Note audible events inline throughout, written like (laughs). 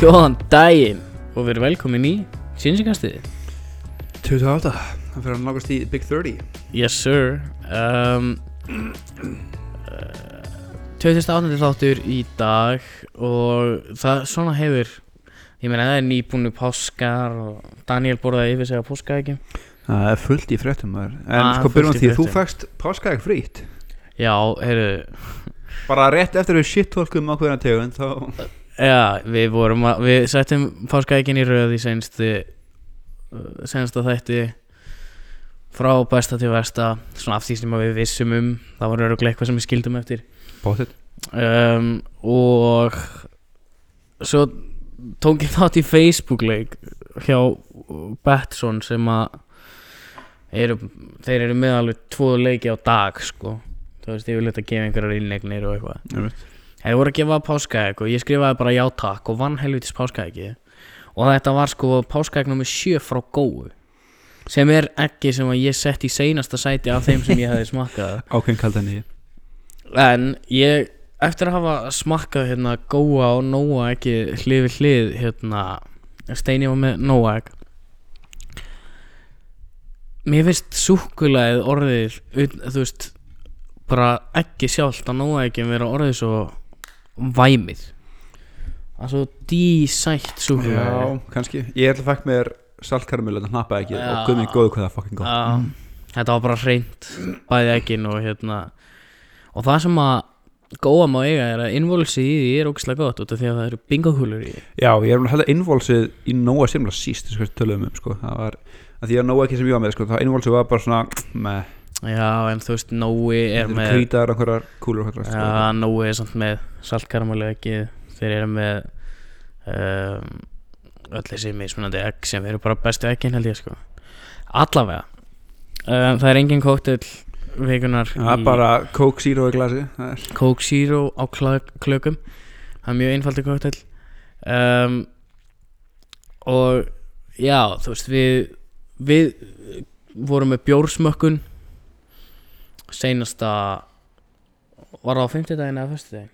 Góðan daginn og verið velkomin í sínsingastið 28, það fyrir að nálgast í Big 30 Yes sir um, uh, 2018 þáttur í dag og það svona hefur ég meina það er nýbúnu páskar og Daniel borðaði yfir sig á páska ekki Það er fullt í fréttum maður En Ah, sko fullt byrjum á í því, þú fréttum. fækst páskaðeg frýtt Já, heyrðu Bara rétt eftir við shit-tólkum á hverja tegund þá Já, við vorum að, við settum páskaækin í röð í senstu uh, sensta þætti frá besta til versta svona af því sem að við vissum um það voru öruglega eitthvað sem við skildum eftir Bóttið um, og svo tók ég þátt í Facebook-leik hjá Betsson sem að eru, þeir eru með alveg tvo leiki á dag sko þú veist, ég vil að gefa einhverjar innlegnir og eitthvað Þeir voru að gefa páskaegg og ég skrifaði bara já takk og vann helvitis páskaeggi og þetta var sko páskaegg nummer 7 frá góðu sem er ekki sem að ég sett í seinasta sæti af þeim sem ég hefði smakkað Ákveðin kaldan í en ég eftir að hafa smakkað hérna góa og nóa ekki hlið við hlið hérna steini var með nóa egg mér finnst súkulegið orðið ut- þú veist bara ekki sjálft að nóa ekki vera orðið svo væmið það er svo dísætt súkulegið Já, kannski Ég ætla að fæk mér saltkarmul en hnappa ekki Já. og guðmið góðu hvað það er fucking góð Já, þetta var bara hreint bæði ekkin og hérna og það sem að góða má eiga er að involsið í því er ógislega gott út af því að það eru bingohulur í því Já, ég er um að hætta innvolsið í Nóa semla síst þess að tölum um sko Það var, að því að Nóa ekki sem ég var með sko það innvolsið var bara svona með, Já, en þú veist, Nói er með með krítar einhverjar kúlur og eitthvað, sko. Já, Nói er samt með saltkarmölu ekki þeir eru með um, öll þessi mismunandi egg sem eru bara bestu ekkin held ég sko Allavega um, Það er engin kóttill vikunar sko. Það er bara Coke Zero í glasi Það er- Coke Zero á kla- klökum það er mjög einfaldi koktel um, og já þú veist við við vorum með bjórsmökkun seinasta var það á fimmtudaginn eða föstudaginn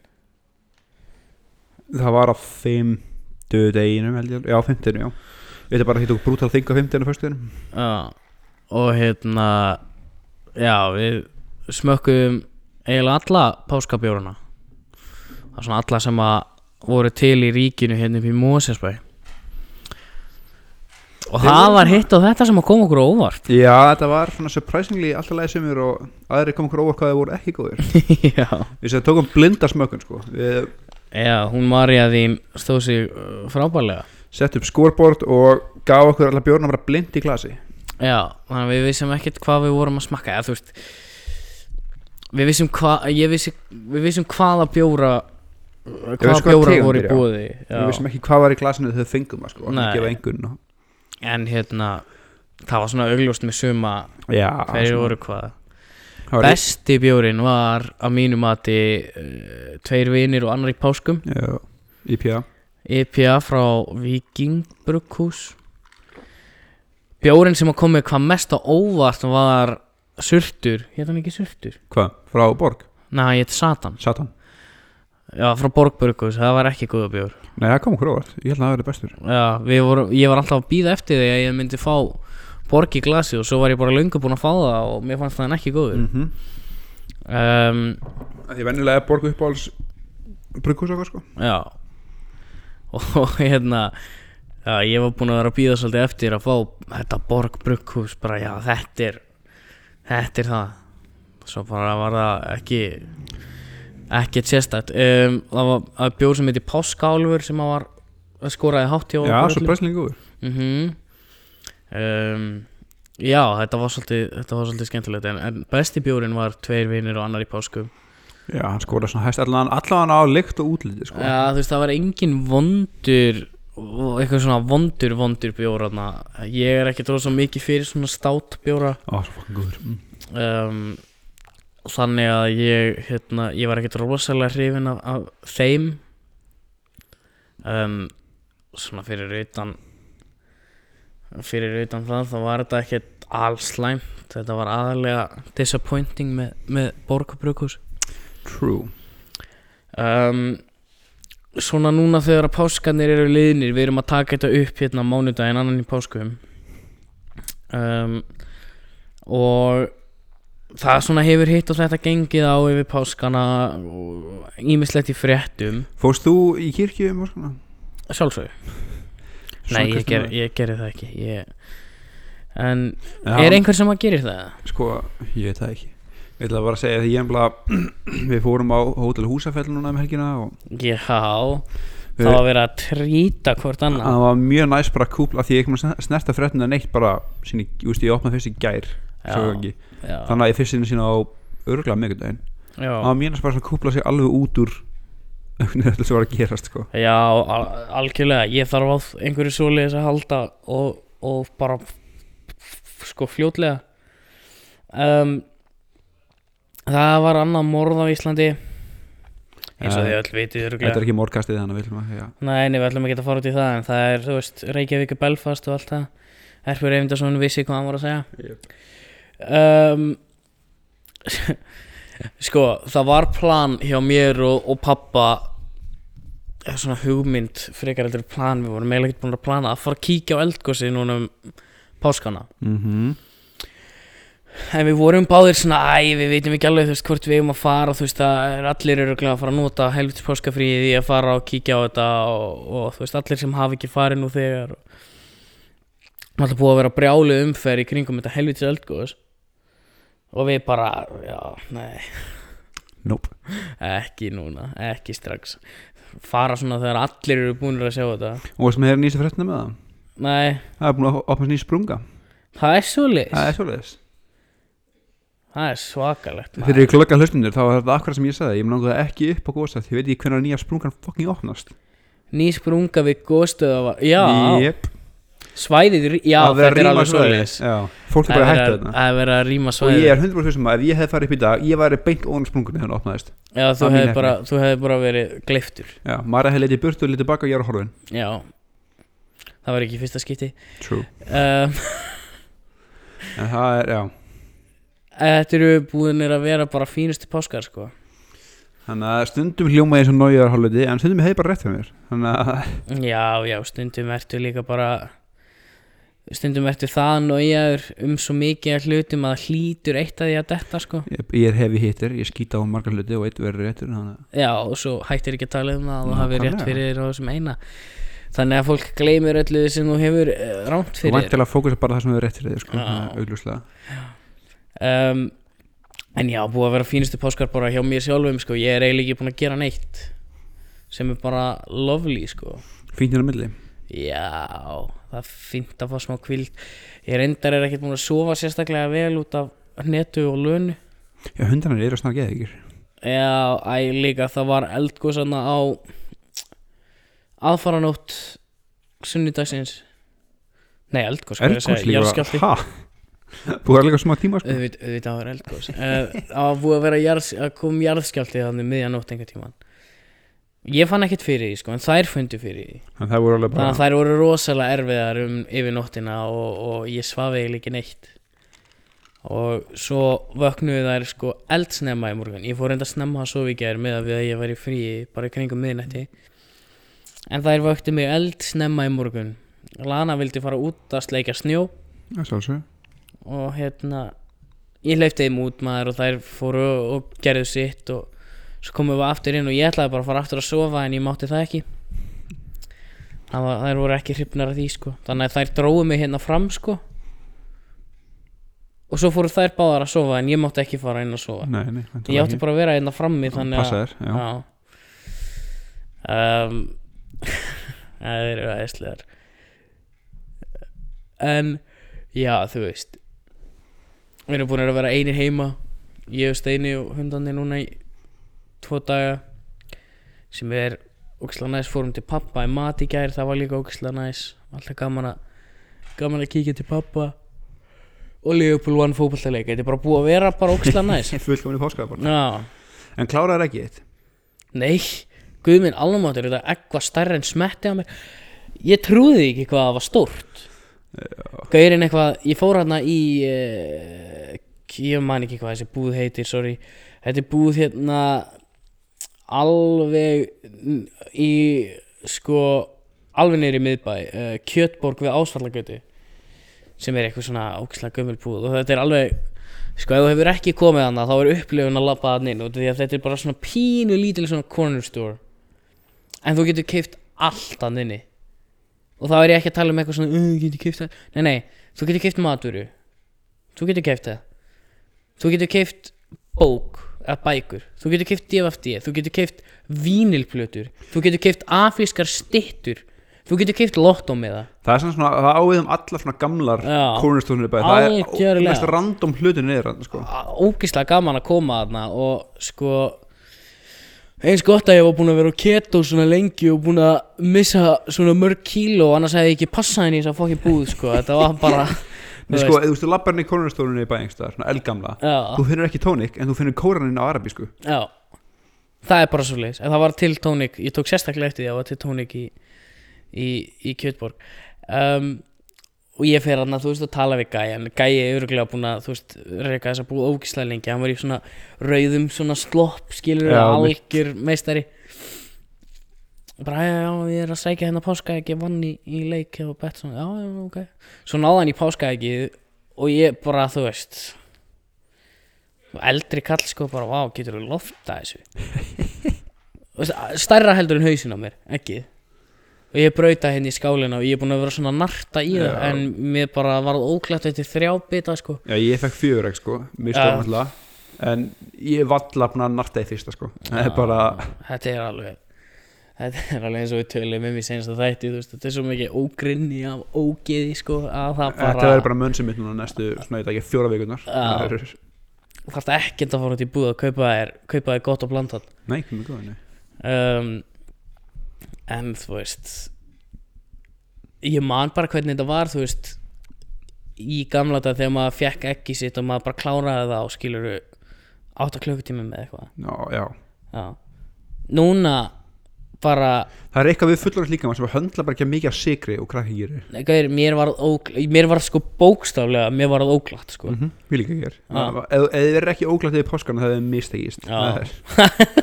Það var á fymtu deginum held ég, já fymtinu já Þetta er bara að hitta okkur brútal þing á fymtinu fyrstinu já, og hérna já við smökkum eiginlega alla páskabjóruna það er svona alla sem að voru til í ríkinu hérna upp í Mósesbæ og það var hitt og þetta sem að koma okkur á (laughs) óvart Já þetta var svona surprisingly alltaf leið sem er og aðri kom okkur óvart hvað það voru ekki góðir já Við sem tókum blinda smökkun sko Við Já, hún Marja þín stóð sig uh, frábærlega settum skórbord og gaf okkur alla bjórna bara blind í glasi Já, þannig að við vissum ekkert hvað við vorum að smakka eða þú veist Við vissum hvað, ég vissi, við vissum hvaða bjóra hvaða vissum hvaða bjóra voru í tegundir, já. búði Við vissum ekki hvað var í glasinu þegar þau fengum það sko og Nei. gefa engun og... En hérna Það var svona augljóst með suma Já Hverju Ah, svona- voru hvað það var- Besti bjórin var að mínu mati uh, Tveir vinir og annar í páskum Já, IPA IPA frá Viking Brugghús Bjórin sem að kom með hvað mest á óvart var Surtur Hétt hann ekki Surtur? Hvað? Frá Borg? Næ, hétt Satan Satan? Já, frá Borg Brugghús, það var ekki góða bjór Nei það kom okkur óvart, ég held að það verið bestur Já, við vorum, ég var alltaf að býða eftir því að ég myndi fá borg í glasi og svo var ég bara löngu búinn að fá það og mér fannst það ekki góður mm -hmm. um, Því venjulega er Borg uppáhalds brugghús okkar sko Já (laughs) Og hérna já, Ég var búinn að vera að býða svolítið eftir að fá þetta borg brugghús bara já þetta er þetta er það Svo bara var það ekki ekkert sérstætt um, Það var að bjór sem heiti Páskálfur sem að var að skoraði hátt hjá Já, okkur öllum. surprisingly góður Mhm. um, Já, þetta var svolítið, þetta var svolítið skemmtilegt en, en besti bjórin var tveir vinir og annar í páskum Já, hann skoraði svona hæst allan, allan á lykt og útliti sko. Já, þú veist, það var engin vondur eitthvað svona vondur, vondur bjór þarna. ég er ekki tróð svo mikið fyrir svona stát bjóra Ó, svo fucking góður mm. um, þannig að ég hérna, ég var ekkert rosalega hrifin af, af þeim um, svona fyrir utan fyrir utan það þá var þetta ekkert allslæmt þetta var aðalega disappointing með, með borgarbrukus True um, svona núna þegar að páskarnir eru liðnir við erum að taka þetta upp hérna á mánudaginn annan í páskum um, og það svona hefur hitt og þetta gengið á yfir páskana og ímislegt í fréttum Fóst þú í kirkju um áskana? sjálfsög, nei ég, ger, ég gerir það ekki ég... en er einhver sem að gerir það? Sko, ég veit það ekki Ég ætla bara að segja því ég emla (clears throat) Við fórum á Hótel Húsafell núna um helgina og Já, það var verið að trýta hvort annað það var mjög næst bara að kúpla því ég ekki maður snerta fréttina neitt bara sinni, ég, veist, ég opnaði fyrst í gær svo Já, ekki. já, þannig að ég fyrst sinni sína á örgla miðgudaginn já. það var mjög næst bara svona að kúpla sig alveg út úr (laughs) hvernig þetta var að gerast sko. Já, al- algjörlega, ég þarf á einhverju svoleiðis að halda og, og bara f- f- sko fljótlega um, Það var annað morð á Íslandi eins og Já. þið öll vitið þetta örugglega. er ekki morgastið þannig að við ætlum að- já. Nei, nei, við ætlum ekki að fara út í það en það er, þú veist, Reykjavík og Belfast og allt það Erfur Eyvindarsson vissi hvað hann var að segja um, (laughs) Sko, það var plan hjá mér og, og pappa eða svona hugmynd frekar heldur en plan, við vorum eiginlega ekki búin að plana að fara að kíkja á eldgósið núna um páskana Mhm. En við vorum báðir svona, æ, við veitum ekki alveg, þú veist, hvort við eigum að fara, þú veist, það er allir eru að fara að nota helvitis páskafríði í að fara og kíkja á þetta og, og þú veist, allir sem hafa ekki farið nú þegar og Það er alltaf búið að vera brjálu umferð í kringum þetta helvitis eldgóðs og við bara, já, nei, nope. ekki núna, ekki strax fara svona þegar allir eru búinir að sjá þetta og sem hefur nýsa fréttina með það Nei, það er búin að opna ný sprunga það er svo það er svolítið það er svakalegt maður. fyrir klokka hlustundur þá var þetta akkurat sem ég sagði ég langaði ekki upp á gósa því ég veit ekki hvernig nýja sprungan fucking opnast Ný sprunga við góðstöða, já, Jep. Svæðið, í- já, Það þetta er verður að rýma alveg svoleiðis svæðið. Já. fólk er Það bara er að hætta verið þetta að- það er verið að rýma og ég svæðið er 100% sem um að ef ég hefði farið upp í dag ég væri beint ofan á sprungunni þegar hún opnaðist Já, þú það er hefði mín bara, þú hefði bara verið gleiftur já, Mara hefði litið burt og litið baka og ég er horfin Já Það var ekki í fyrsta skipti true um, en það er, já Þetta eru búinir að vera bara fínustu páskar sko þannig að stundum hljóma ég sem nájaðar hálfliti en stundum hefði bara rétt hjá mér þannig að Já, já, stundum ertu líka bara Stundum ertu það nógjaður um svo mikið að hlutum að það hlýtur eitt að því að detta sko ég, ég er hefi hittir ég skýta á margar hluti og eitt verður réttur þannig að Já, og svo hættir ekki að tala um það og hafi rétt Nákvæmlega. fyrir þér á þessum eina Þannig að fólk gleymir öllu því sem þú hefur eh, rangt þú fyrir þér. vantilega fókusa bara á það sem hefur rétt fyrir þér sko Já. þannig að augljóslega um, En já, búið að vera fínustu páskar bara hjá mér sjálfum sko. Ég er eiginlega ekki búin að gera neitt sem er bara lovely sko. fínt hérna á milli Já, það er fínt að fá smá kvild Ég reyndar er ekkert búin að sofa sérstaklega vel út af netu og lönu já, hundarnir eru að snarka eða ykkur Já, æ, líka það var eldgóðsanna á aðfaranótt sunnudagsins Nei, eldgóðs, hvað er Sko, ég að segja, líka jarðskjálfti Eh, ha búið að líka smá tíma sko auðvitað, auðvitað var eldgós uh, að búið að vera jarðs, að kom jarðskjálti þannig miðjan nótt einhvern tíman ég fann ekkert fyrir því sko en þær fundu fyrir því en það voru alveg þannig bara að þær voru rosalega erfiðar um yfir nóttina og, og ég svaf eiginlega ekki neitt og svo vöknuðu þær sko eldsnemma í morgun ég fór enda snemma að sofa í gær með að við að ég var í fríi bara í kringum miðnætti en þær vöktu mig eldsnemma í morgun Lana vildi fara út að sleika snjó Já, sjálfsögðu. og hérna ég hleyfti þeim út maður og þær fóru og gerðu sitt og svo komum við aftur inn og ég ætlaði bara að fara aftur að sofa en ég mátti það ekki það var, þær voru ekki hrifnar að því sko þannig að þær dróðu mig hérna fram sko og svo fóru þær báðar að sofa en ég mátti ekki fara inn að sofa Nei, nei, ég átti bara að vera hérna frammi þannig að Passaðir, já. Já. um, (laughs) Það eru aðeinslegar En Já þú veist Við erum búin að vera einir heima Ég og Steini og hundandi núna í Tvo daga Sem er ógislega næs Fórum til pappa í mat í gær Það var líka ógislega næs Alltaf gaman að Gaman að kíkja til pappa Og Leopold One fótballtaleika Þetta er bara búið að vera bara ógislega (laughs) næs fullkomin í páskaða bara Já en kláraður ekki eitt Nei, guð minn almáttur Þetta er eitthvað stærra en smetti á mér Ég trúði ekki hvað það var stórt Gaurinn eitthvað Ég fór hérna í eh, uh, Ég man ekki hvað þessi búð heitir, sorry Þetta er búð hérna alveg n- í sko alveg niður í miðbæ uh, Kjötborg við Ásvallagötu sem er eitthvað svona ókslega gömulbúð og þetta er alveg sko ef þú hefur ekki komið hana þá er upplifun að labba hann inn út af því að þetta er bara svona pínu lítil svona corner store en þú getur keift allt hann inni og þá er ég ekki að tala um eitthvað svona uh, getur keift það, nei nei, þú getur keift matvöru þú getur keift það þú getur keift bók eða bækur, þú getur keift DFFD þú getur keift vínilplötur þú getur keift afískar styttur þú getur keift lottómiða Það er svona svona, það ávið um allar svona gamlar Já. kórnustóðunni bæði, það er Algjörlega. mest random hlutin niður hann, sko. ógislega gaman að koma þarna og sko eins gott að ég var búin að vera á keto svona lengi og búin að missa svona mörg kíló annars hefði ég ekki passað henni í þess að fokkin búð sko þetta var (laughs) bara En sko, ef þú veist, labbar hann í kórnustóðunni bæði einhverstaðar, svona elgamla, já, þú finnur ekki tónik, en þú finnur kóraninn á sko. arabísku. já það er bara svo leis en það var til tónik, ég tók sérstaklega eftir því að það var til tónik í, í, í Kjötborg um, og ég fer hann þú veist að tala við gæja en gæi er örgulega búin að þú veist reyka þess að búið ógislega lengi hann var í svona rauðum svona slopp skilur Já, algjör meistari Og bara já, já, ég er að sækja hérna páskaeggi vann í, í leik og bett svona, já, já, ok svo náði hann í páskaeggi og ég bara, þú veist eldri kall sko bara, vá, getur þú lofta þessu (laughs) Þú veist, stærra heldur en hausin á mér, ekki og ég brauta henni í skálina og ég er búin að vera svona að narta í það Já. en mér bara varð óklætt eftir þrjá bita sko Já, ég fekk fjögur, ekki, sko, mér Já. stóðum alltaf, en ég vallapna narta í fyrsta, sko. Það er bara, þetta er alveg þetta er alveg eins og við tölum um í senast að þætti þú veist, þetta er svo mikið ógrinni af ógeði sko að það þetta verður bara bara mönnsum mitt núna næstu, svona, ég veit ekki, fjóra vikunar. Já. þarf ekkert að fara út í búð að kaupa þér kaupa þér gott og blandat Nei, komið góðið, nei. um, en þú veist ég man bara hvernig þetta var þú veist í gamla þetta þegar maður fekk ekki sitt og maður bara kláraði það og skilur 8 klukkutími með eitthvað Já, já. Já. Núna bara, Það er eitthvað við fullorðins líkamann sem höndla bara ekki mikið af sykri og krakki gerir. nei, gaur, mér var mér var sko bókstaflega, mér var óglatt sko. Mhm, Ég líka gerir. Já. Ef ef þið verður ekki óglætt yfir páskana, það er mistekist. Já. Það er-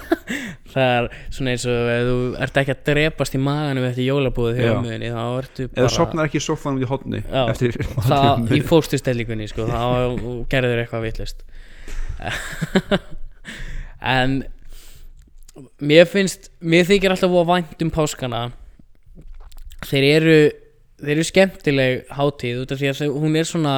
Það er svona eins og ef þú ert ekki að drepast í maganum eftir jólabúðið Já. hjá möðinni, þá ertu eða bara sopnar ekki í sofanum út í hotni Já. (laughs) eftir það, í fóstustellingunni sko, þá gerður eitthvað vitlist (laughs) en mér finnst mér þykir alltaf að vænt um páskana þeir eru þeir eru skemmtileg hátíð út af því að þau- hún er svona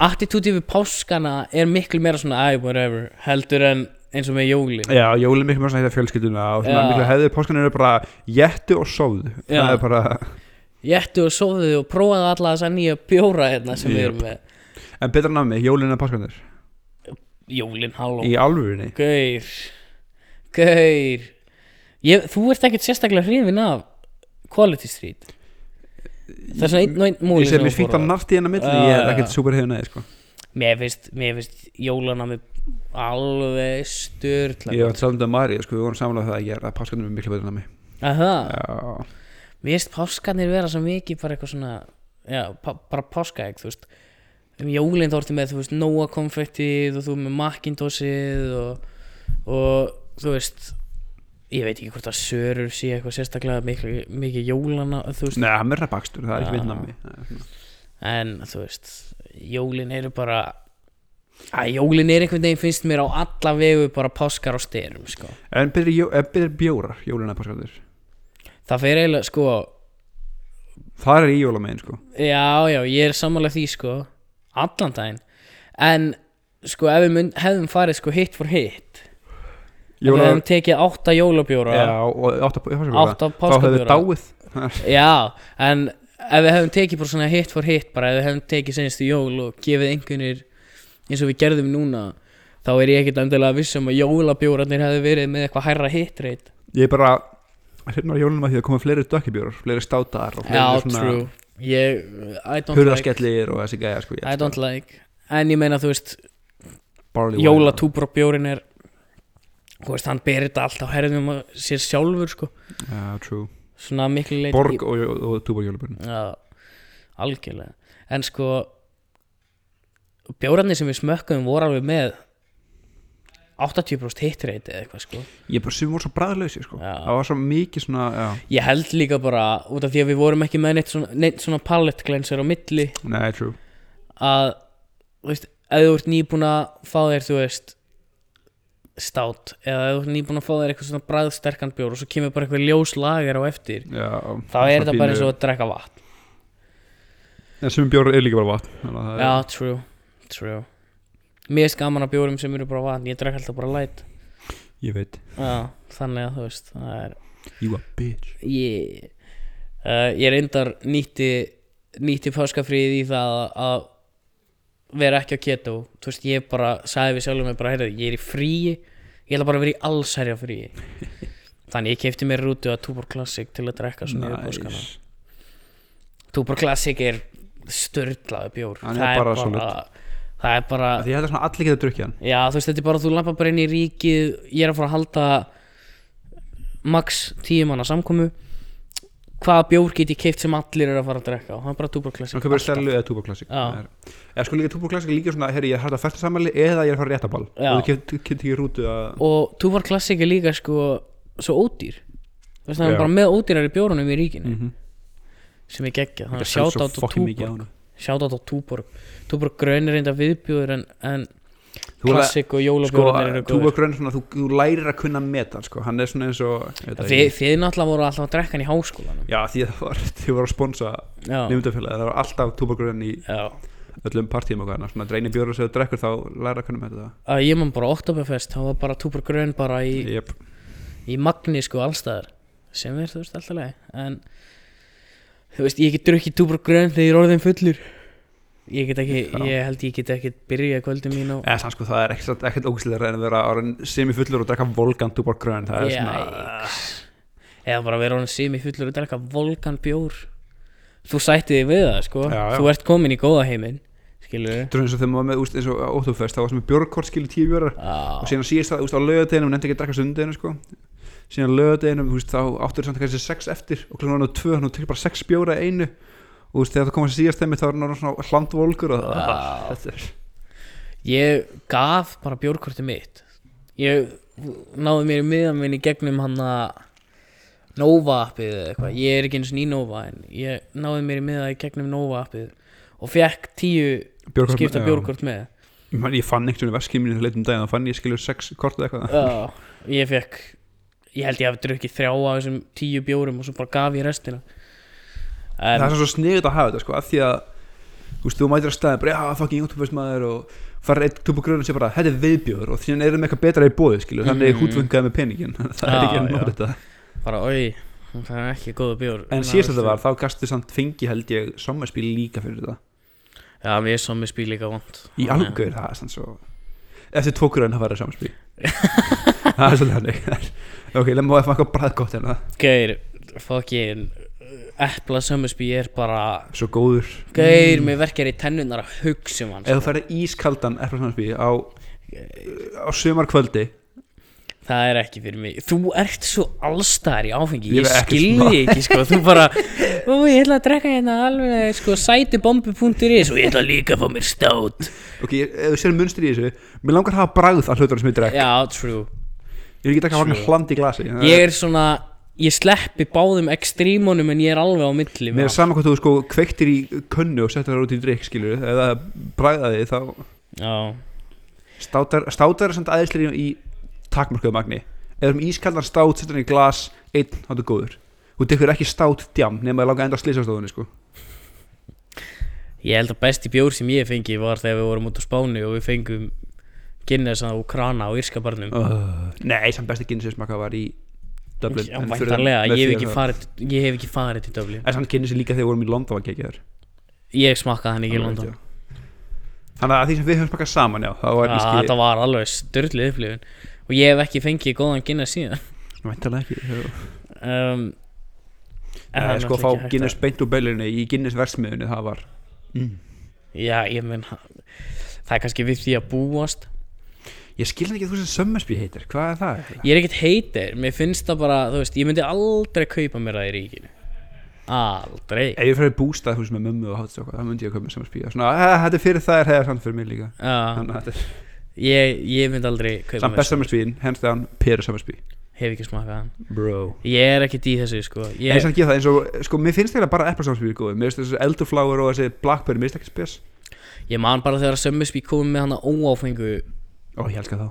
attitúti við páskana er miklu meira svona æ, whatever, heldur en eins og með jólin já, jólum miklu mér svona heita fjölskylduna og svona Já. miklu hefðið páskan eru bara jættu og sóðu Já. það er bara, jættu og sóðu og prófaðu alla þessa nýja bjóra hérna sem við erum með en betra námi, jólin en páskanir jólin, halló í alvörinni Gaur Gaur ég, Þú ert ekkert sérstaklega hrifin af Quality Street Það er svona einn og einn múli ég sé mér fínt að narti hennar milli Já, ég er já. ekkert súper hefðið neði sko. Mér finnst, mér finnst jólana með alveg styrla ég var samt að Mari, sko, við vorum saman á það að gera að páskanir er miklu betra námi Aha, já, mér finnst páskanir vera svo mikið bara eitthvað svona Já, pá, bara páskaegg, þú veist Um jólinn þá ertu með, þú veist, Nóa konfektið og þú með Macintosið og, og þú veist Ég veit ekki hvort að sörur sé eitthvað sérstaklega mikið, mikið jólana, þú veist neða, mér er bakstur, það er ekki Já. vinn námi Það er svona- en þú veist jólin eru bara að jólin er einhvern veginn finnst mér á alla vegu bara páskar á styrum sko. en betri, jó- eh, betri bjórar, jólin en páskanir það fer eiginlega sko það er í jólamegin, sko já já ég er sammála því sko allan daginn en sko ef við mynd, hefðum farið sko hitt for hitt ef við hefðum Jólar, tekið átta jólabjóra já, og átta páskabjórar átta þá hefur við páskabjóra dáið (laughs) já en ef við hefðum tekið bara svona hitt for hitt bara ef við hefðum tekið senstu jól og gefið einhvernir eins og við gerðum núna þá er ég ekkert endilega viss um að jólabjórarnir hefðu verið með eitthvað hærra hitreit ég er bara hérna á jólunum að því að koma fleiri dökkibjórar fleiri státar og fleiri Já, svona true Ég, I don't like hurðaskellir og þessi gæja sko, ég I elska don't like En ég meina, þú veist, barley wine. jólatúbur og bjórin er Þú veist, hann berir þetta allt á herðum og sér sjálfur, sko já, true Svona miklu leit borg og, og, og túbor jólabjörn Já, algjörlega En sko Bjórarnir sem við smökkum voru alveg með 80% hit rate eða eitthvað sko Ég bara sem voru svo bræðlausi sko. Já. Það var svo mikið svona já. Ég held líka bara, út af því að við vorum ekki með neitt svona, neitt svona palette cleanser á milli Nei, true að, þú veist, ef þú ert nýbúin að fá þér, þú veist stát, eða ef þú ert nýbúin að fá þér eitthvað svona bræðsterkan bjór og svo kemur bara eitthvað ljós lager á eftir já, þá er þetta bara eins og að drekka vatn En sem bjór er líka bara vatn þannig að það Já, er- true, true Mér er skaman að bjórum sem eru bara vatn, ég drekka alltaf bara light Ég veit Já, þannig að þú veist, það er You a bitch ég, uh, ég reyndar nýtti nýtti páskafríð í það að, að vera ekki á keto þú veist ég bara sagði við sjálfum mig bara heyrðu ég er í fríi ég ætla bara að vera í allsherja (laughs) fríi þannig ég kefti mér rútu að Tubor Classic til að drekka svona nice. páskana Nice. Tubor Classic er störlaðu bjór Hann er bara solid. það er bara Af Því þetta er svona allir getur drukkið hann Já, þú veist, þetta er bara þú lappa bara inn í ríkið Ég er að fara að halda Max tíu manna samkomu Hvaða bjór get ég keift sem allir eru að fara að drekka Og hann bara Tuber Classic Hann kaupir alltaf. Stellu eða Tuba Classic Já. Það er- Eða sko líka Tuba Classic er líka svona Herri, ég er hægt að festa sammæli Eða ég er að fara réttaball Já. Og þú getur getur ekki rútu að Og Tuber Classic er líka sko Svo ódýr Þú veist, það Já. er bara með ódýrar í bjórunum í ríkinu Mhm. Sem er geggja Þannig að Þetta er sjáta á svo fucking mikið á Tuborg hana. Sjáta á Tuborg Tuborg grönir reynda viðbjóður En, en Þú er að- Classic og sko, jólabjórunir eru góður Tuba Grönn svona, þú, þú lærir að kunna metan sko. hann er svona eins og ég veit það Þið ekki. þið náttúrulega voru alltaf að drekka hann í háskólanum já, því að það var, þið voru að sponsa Já, nefndafélagi, það var alltaf Tuba Grönn í já öllum partíum og hana, svona dreini bjóra sem þú drekkur þá læra að kunna meta það að ég man bara Oktoberfest þá var bara Tuber Grön bara í, yep. í magni sko allstaðar sem er þú veist alltaf leið en þú veist ég get drukkið Tuber Grön þegar ég er orðin fullur ég get ekki, Já. ég held ég get ekki byrjað kvöldum mín og eða sann sko, það er ekkert, ekkert ógæslega en að vera orðin semi fullur og drekka volgan Tuba Grönn, það er svona Jæks. eða bara vera orðin simi fullur og drekka volgan bjór þú sætti þig við það sko Já, já. þú ert komin í góða heiminn skilur (laughs) Þetta er eins og þegar maður var með úst, eins og óttúfest það var sem með björgkort skilur tíu bjórar og við síðan síðast það úst, á lögadeginum nefndi ekki að drekka sundinu sko. síðan á lögadeginum úst, þá áttur samt kannski sex eftir og klunum hann á tvö hann og tekur bara sex bjóra í einu og úst, þegar það komast síðast þeim þá er hann svona hlandvolgur og það Já. þetta er ég gaf bara bjórkortið mitt ég náði mér í miðan minn í gegnum hann að Nova appið eða eitthvað, ég er ekki eins og ný Nova en ég náði mér í miðan í gegnum Nova appið og fekk tíu Bjórkort- skipta já. bjórkort með Ég man- ég fann ekkert um veskið mínu leitum daginn þá fann ég skilur sex kort eða eitthvað Já, ég fekk ég held ég hafi drukkið þrjá af þessum tíu bjórum og svo bara gaf ég restina það en, er svo sniðið að hafa þetta sko af því að þú veist, þú mætir að staði bara, já, fucking youtubers maður og fara eitt tupu gröðum sem bara, þetta er viðbjóður og því hann er með eitthvað betra í bóði, skilju Mhm. þannig mm. hútvungaði með peningin (laughs) það er Já, ekki að já. nota þetta bara oi, það er ekki góða bjór en Þannig síðast að- þetta var, þá gastu samt fengi held ég sommarspil líka fyrir þetta Já, mér er sommi spíl líka vond í algjör, það er sann svo eftir tvo gröðin að (laughs) fara sommarspil það er svolítið hannig (laughs) ok, lemma og eitthvað bræðgott hérna Geir, fokkin Epla Sömmersby er bara svo góður, Mm. Geir, mér verkar í tennunar að hugsa um hans ef þú færi ískaldan eftir sommarspil á, á sumarkvöldi Það er ekki fyrir mig Þú ert svo allstar í áfengi Ég Ég er ekki skilði ekki, sko Þú bara, ó, ég ætla að drekka hérna alveg sko, sætibombu.is og ég ætla líka að fá mér stát ok, ég- ef þú sér munstri í þessu mér langar að hafa bragð að hlutunum sem ég drek Já, true ég vil ekki taka True. hann hland í glasi Ég er svona, ég sleppi báðum ekstrímunum en ég er alveg á milli mér með er sama hvað þú sko kveiktir í könnu og setjar það út í drikk skilur eða bragðaði þá allt. Já, státar, státar er samt aðeinslega í takmörkuðu magni eða um ískaldan stát setjar hann í glas einn þá er góður þú tekur ekki stát djam nema að langa enda slísastofunni sko ég held að besti bjór sem ég fengi var þegar við vorum út á Spáni og við fengum Guinness á Krana á Írskabarnum uh. nei, samt besti Guinness smaka var í Dublin Já, en fyrir- væntanlega, með ég hef þér ekki þá. farið ég hef ekki farið til Dublin en samt Guinness er líka þegar við vorum í London að kekja þér ég smakkaði hann ekki í London þannig að því sem við höfum smakað saman já, það var Ah, þetta var alveg störlið upplifun og ég hef ekki fengið góðan Guinness síðan væntalega ekki já. um, en það Nei, er náttúrulega sko að fá ekki hægt Guinness beint úr beilinu í Guinness versmiðinu það var að, já ég menn það er kannski við því að búast ég skilði ekki þú sem sömmersby heitir hvað er það? eiginlega? ég er ekkert heitir, mér finnst það bara þú veist, ég myndi aldrei kaupa mér það í ríkinu aldrei ef ég fyrir bústað þú sem "Eh, er mömmu og hátt það myndi ég að köpa með sömmersby svona, "Ah, þetta er fyrir það er hefðar sann fyrir mig líka uh, þannig að þetta er ég, ég mynd aldrei kaupa Samt mér best sammersbíin, hens þegar hann Peru sammersbí svo. hef ekki smakað hann Bro ég er ekkert í þessu sko Ég ég, er sann að gera það eins og, sko, mér finnst eiginlega bara eplasamspíl góð Mér finnst þessi elderflower og þessi blackberry, mér finnst ekki spes ég man bara þegar Sömmersby komið með hann að óáfengu Ó, ég elska þá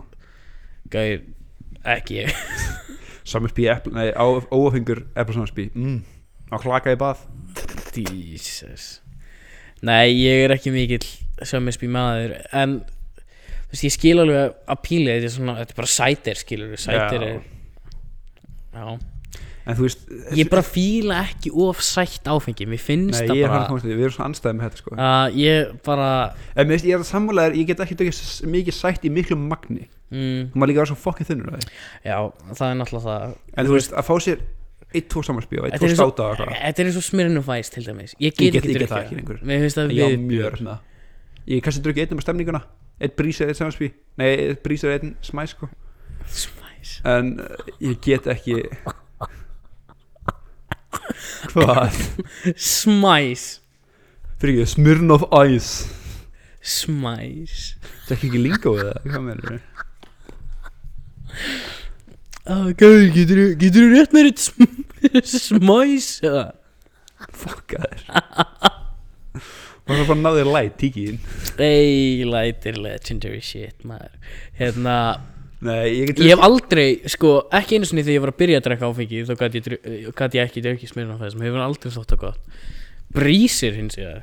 gæðir ekki ég (laughs) Sammersbí, epl- nei, á- óafengur eplasamspí mm. Á klaka í bað Jesus Nei, ég er ekki mikill sömmisbí maður En þú veist, ég skil alveg að- að píli þetta er, svona, þetta er bara sætir skilur Sætir Já. er Já En þú veist Ég bara fíla ekki of sætt áfengi Mér finnst Nei, það ég er hann bara Ah. komast í því, við erum svona anstæði með þetta sko að Ég bara En mér finnst, ég er það sammálaður, ég get ekki tekið s- mikið sætt í miklu magni mm, Þú maður líka að vera svo fokkin þunnur af því. Já, það er náttúrulega það En þú veist, að fá sér eitt, tvo sammersbí og eitt, Þetta tvo er státa og eitthvað Þetta er eins og smirnum væs til dæmis Ég Ég get, get- ekki ég get drukkið það ekki lengur. Mér finnst það Ég á við mjög erfitt með það Ég kannski drukkið einn um stemninguna Eitt brísir, eitt samspí Nei, eitt brísir, einn smæ sko Svæs En uh, ég get ekki (laughs) Hvað? Smæs Fyrir ekki, Smirnoff Ice Smæs Þetta er ekki líka við það Hvað meður þau? Ah, Gauður, getur þú rétt mér eitt sm- (laughs) smæs? eða? Fokka þér Og það er bara að ná þér læt, tíkin Ey, lætir legendary shit, maður Hérna, Nei, ég get ég hef aldrei, sko, ekki einu sinni þegar ég var að byrja að drekka áfengi Þá gæti ég, dru- eh, gat ég ekki drukkið smirna á þessum, hefur aldrei þótt að gott Brísir hins vegar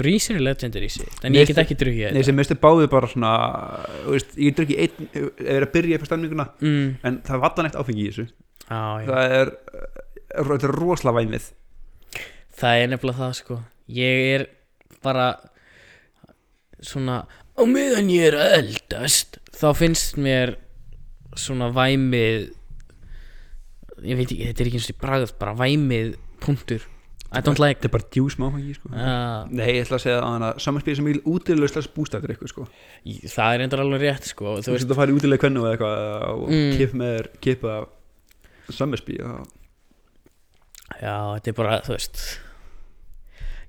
Brísir er legendary shit, en Mér ég get ekki drukkið Nei, þetta sem misti báði bara svona þú veist, Ég get drukkið einn Ef ég er að byrja eitthvað stemninguna mm, En það er vatna neitt áfengi í þessu á, já. Það er uh, Þetta er rosalega væmið Það er nefnilega það, sko Ég er bara svona á meðan ég er að eldast þá finnst mér svona væmið ég veit ekki, þetta er ekki eins og bragð bara væmið punktur I don't like Þetta er bara djús með áfengi sko. uh, Nei, ég ætla að segja að hana Samanspýr sem ég vil útilega slags bústættir eitthvað sko. það er endur alveg rétt sko Þú þú veist veist, að fara í útilega kvennu eða eitthvað og Mm. mm. kipa með þér kipa samanspý já, þetta er bara, þú veist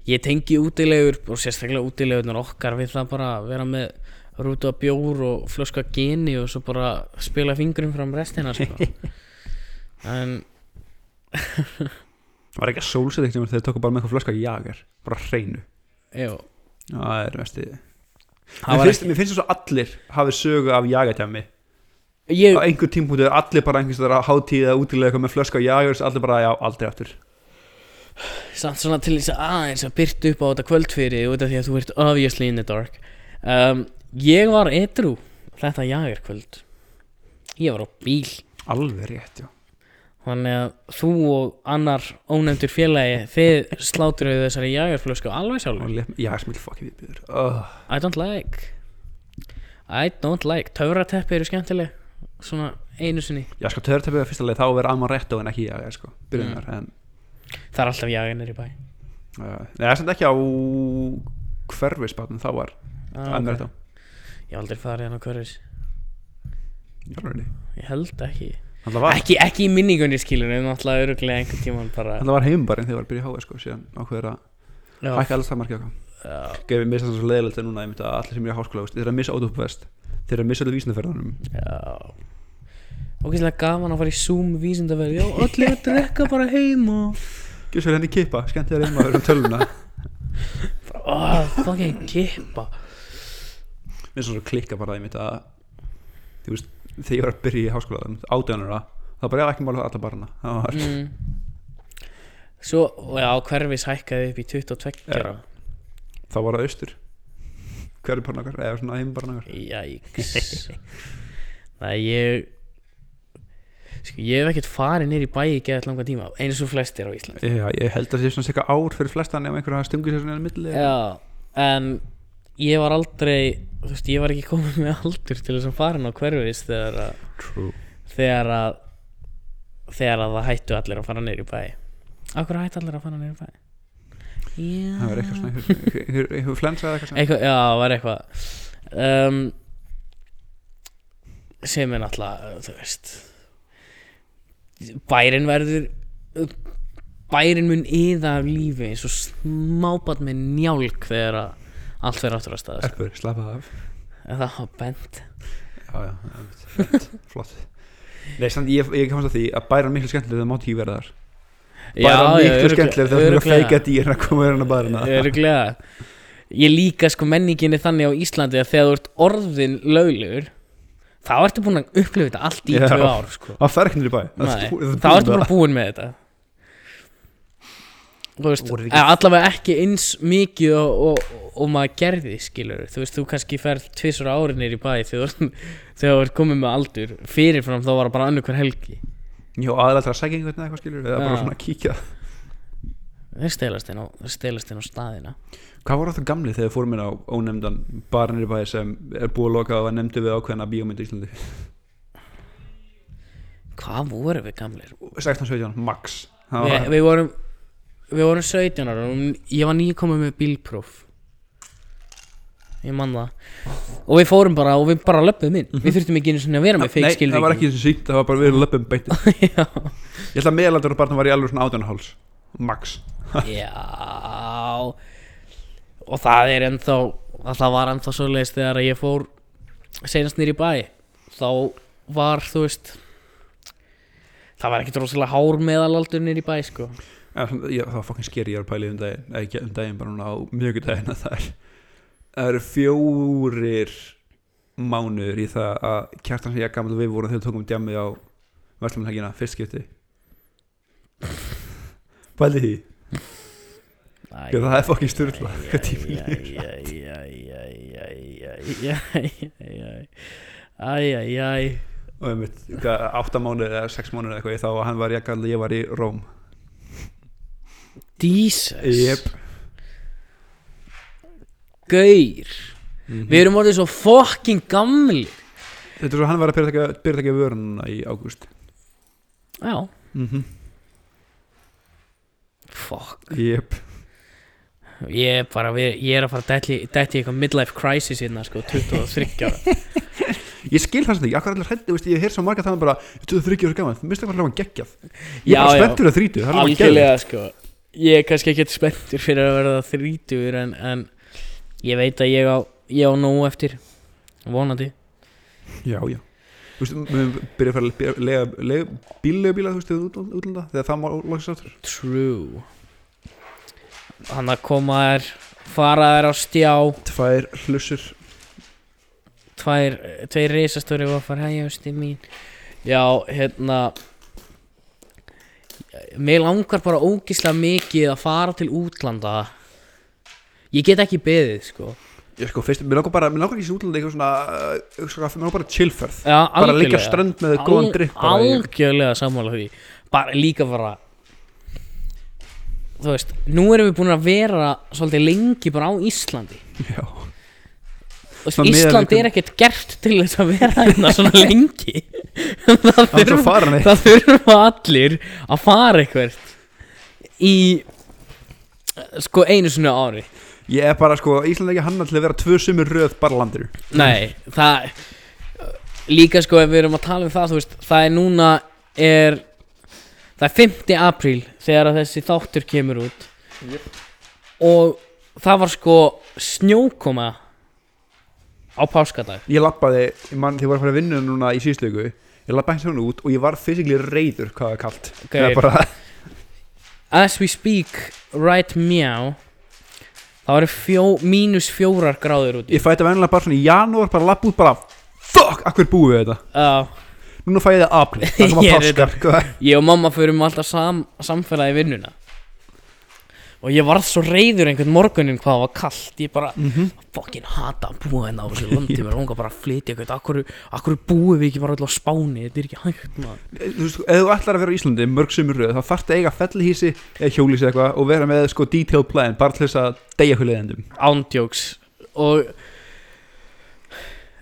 ég tengi útilegur og sérstaklega útilegurnar okkar við það bara að vera með rútu að bjór og flösku að geni og svo bara spila fingurinn fram restina (laughs) sko en Var ekki að sólsett eitthvað þegar þau tóku bara með eitthvað flöska jager bara á hreinu já, Það er vesti það Mér var finnst, mér finnst þess að allir hafi sögu af jagertjami ekki ég, Á einhver tímpúti er allir bara einhvers þar að hátíða útilega eitthvað með flöska jager allir bara já, aldrei aftur samt svona til þess að aðeins að byrta upp á þetta kvöld fyrir út af því að þú ert obviously in the dark um, ég var edru þetta jagerkvöld ég var á bíl Alveg rétt, já þannig að þú og annar ónefndur félagi þið sláturuðu þessari jagerflösku alveg Og sjálfur lef- Jagersmiðl fucking viðbjöður oh. I don't like I don't like töfrateppi eru skemmtileg svona einu sinni Já, sko, törtæpið er fyrsta leið þá verður Amon Retto en ekki jager sko, byrjunar en það er alltaf jaginir í bæ Uh, Nei, það er samt ekki á hverfisbatnum, þá var ah, okay. Amon Retto ég hef aldrei farið hann á hverfis Það ég held ekki var, ekki, ekki í minningunni skilur en náttúrulega öruglega einhvern tíman bara þarna var heimbarinn þegar ég var að byrja í háa sko, síðan ákveður að já, hækka alls það markið okkar já, Gefið missa þess að leiðilegt er núna, ég myndi að allir sem ég er í háskóla þú veist, þeir eru að missa Ótopu Vest, þeir eru að missa allir vísindaferðanum já. ógeðslega gaman að fara í Zoom vísindaverð já, allir að drekka bara heima Gjörs vel henni hérna kippa, skemmt þér heima um tölvuna bara, oh, fucking kippa (laughs) Mér er svona klikka bara að ég myndi að Þú veist, þegar ég var að byrja í háskóla átjánur að Það bara, já, ekki mála alla barna Það var, mm. svo, já, hverfis hækkaði upp í 22 ára þá var það austur Hverjubarn okkar, eða svona heimbarn okkar jæks það ég sko, ég hef ekkert farið nýr í bæ í geðað langa tíma eins og flestir á Íslandi Já, ég held að það sé svona cirka ár fyrir flestan ef einhverja stungur sér svona enn milli Já, en ég var aldrei þú veist, ég var ekki komin með aldur til þess að fara inn á hverfis þegar að True þegar að, þegar að það hættu allir að fara niður í bæ Akkur hættu allir að fara niður í bæ? Já Það var eitthvað svona, (laughs) einhver- einhver einhver flensa eða eitthvað svona eitthvað, Já, það var eitthvað um, sem er náttúrulega uh, þú veist bærin verður bærin mun yða af lífi eins og smábarn með njálk þegar að allt verður áttur að staða Erpur, slappa af það var bent já, já, já, flott, flott. Nei, samt ég, ég kemst að því að bæra miklu skemmtileg þegar mátt ég vera þar bæra miklu skemmtileg þegar þú eru að feika dýr að koma verðan að bæra hérna. hana Öruglega Ég líka sko menninginni þannig á Íslandi að þegar þú ert orðin löglegur þá ertu búin að upplifa þetta allt í Já. tvö ár sko. það fer ekki niður í bæ Það er Nei, stú- það þá er stúlum ertu bara. bara búin með þetta Þú veist, Voru ekki- eða allavega ekki eins mikið og, og, og maður gerði skilur þú veist, þú kannski ferð tvisur ári nýr í bæ þegar þú ert- þegar þú ert komið með aldur fyrirfram þá var það bara annur hver helgi já, aðalega til að segja einhvern veginn eitthvað skilur eða bara Já. svona að kíkja þeir stelast inn á, þeir stelast inn á staðina hvað voru þetta gamli þegar við fórum inn á ónefndan bara niður í bæ sem er búið að loka og að nefndu við ákveðna bíómynd í Íslandi hvað vorum við gamlir 16-17, max Það Vi, var- við vorum við vorum 17 ára og ég var nýkomið með bílpróf ég man það og við fórum bara og við bara löpum inn við þurftum ekki einu sinni að vera með Nei, fake það var ekki eins og sínt, það var bara við löpum beitt (laughs) skilvíkjum Ég held að meðalaldur á barnum var í alveg svona 18 háls Max já, já og það er ennþá að það var ennþá svo leiðist þegar ég fór senast nýr í bæ þá var þú veist það var ekkert rosalega hár meðalaldur nýr í bæ sko Já, svona- ég- Það var fokkin skeri, ég var að pæla í um daginn eða ekki um daginn, bara núna á mjögudaginn að það er það eru fjórir mánuður í það að kjartan sem ég gamla við vorum þegar við tókum djamið á Vestlumanhækina fyrst skipti Pæli því, Æ, Ég, það er fokkin styrla hvað tími líður Æjæjæjæjæjæjæjæjæjæjæjæjæjæjæjæj og ég mitt, átta mánuður eða sex mánuður eða eitthvað í þá og hann var ég gamla, ég var í Róm Jesus Jep. Gaur Við erum orðið svo fucking gamli Þetta er svo hann var að byrja að taka vörunna í ágúst Já, mm -hmm. fuck Jep Ég er bara, við- ég er að fara að detti í eitthvað midlife crisis hérna sko 23 ára Ég skil það sem ekki, akkur allir hrætti, veist, ég heyr svo marga þannig bara Þú er þryggjur og gaman, þú mistið hvað hljóðan geggjað Ég Já, er bara já. spenntur að þrítu, það er hljóðan geggjað Algjörlega sko Ég er kannski ekkert spenntur fyrir að verða þrítur en, en ég veit að ég á, ég á nógu eftir Vonandi Já, já Þú veist, við höfum byrjað að fara að lega, lega bíllega bíla, þú veist, út- út- útlanda Þegar það má loksins áttur True Hann að koma þær fara þær á stjá Tvær hlussur tvær, tveir reisastóri vafar hægjásti mín Já, hérna Mér langar bara ógislega mikið að fara til útlanda Ég get ekki beðið sko Ég sko, fyrst, mér langar bara, mér langar ekki þessi útlanda eitthvað svona uh, eitthvað svona, Mér langar bara chillferð Já, Bara að liggja Eh, á algjörlega. strönd með góðan drikk bara í- Algjörlega sammála því Bara líka bara Þú veist, nú erum við búin að vera svolítið lengi bara á Íslandi Já, Þú veist, Svona miðað við Ísland er hvern- ekkert gert til þess að vera hérna svona lengi (laughs) það, það er svo þurfa, (laughs) faran eitt það þurfa allir að fara eitthvert í sko einu svona ári Ég er bara, sko, Ísland er ekki hanna til að vera tvö sumur röð bara landir nei, það líka sko ef við erum að tala um það þú veist, það er núna er það er 5. apríl þegar að þessi þáttur kemur út og það var sko snjókoma á páskadag Ég lappaði, ég mann, þegar ég var að fara að vinna núna í síðslegu Ég lappaði hans út og ég var fysikli reyður hvað það er kalt Gaur. Ég bara, As we speak right meow Það eru fjó, mínus fjórar gráður úti Ég fæ þetta venjulega bara svona í janúar, bara lapp út, bara Fuck, akkur búið við þetta uh, Núna fæ ég það apríl, það (laughs) koma Ég er páskar hvað- Ég og mamma förum alltaf sam, samfélagi í vinnuna Og ég varð svo reyður einhvern morgunin hvað það var kallt Ég bara mm fucking hata að búa hérna á þessu landi Mér langar bara að flytja eitthvað Akkur, akkur búum við ekki bara alltaf á Spáni Þetta er ekki hægt maður Þú veist, ef þú ætlar að vera í Íslandi mörg sumur röð Þá þarftu að eiga fellihísi eða hjólísi eitthvað Og vera með sko detailed plan, bara til þess að deyja hulið endum ándjóks og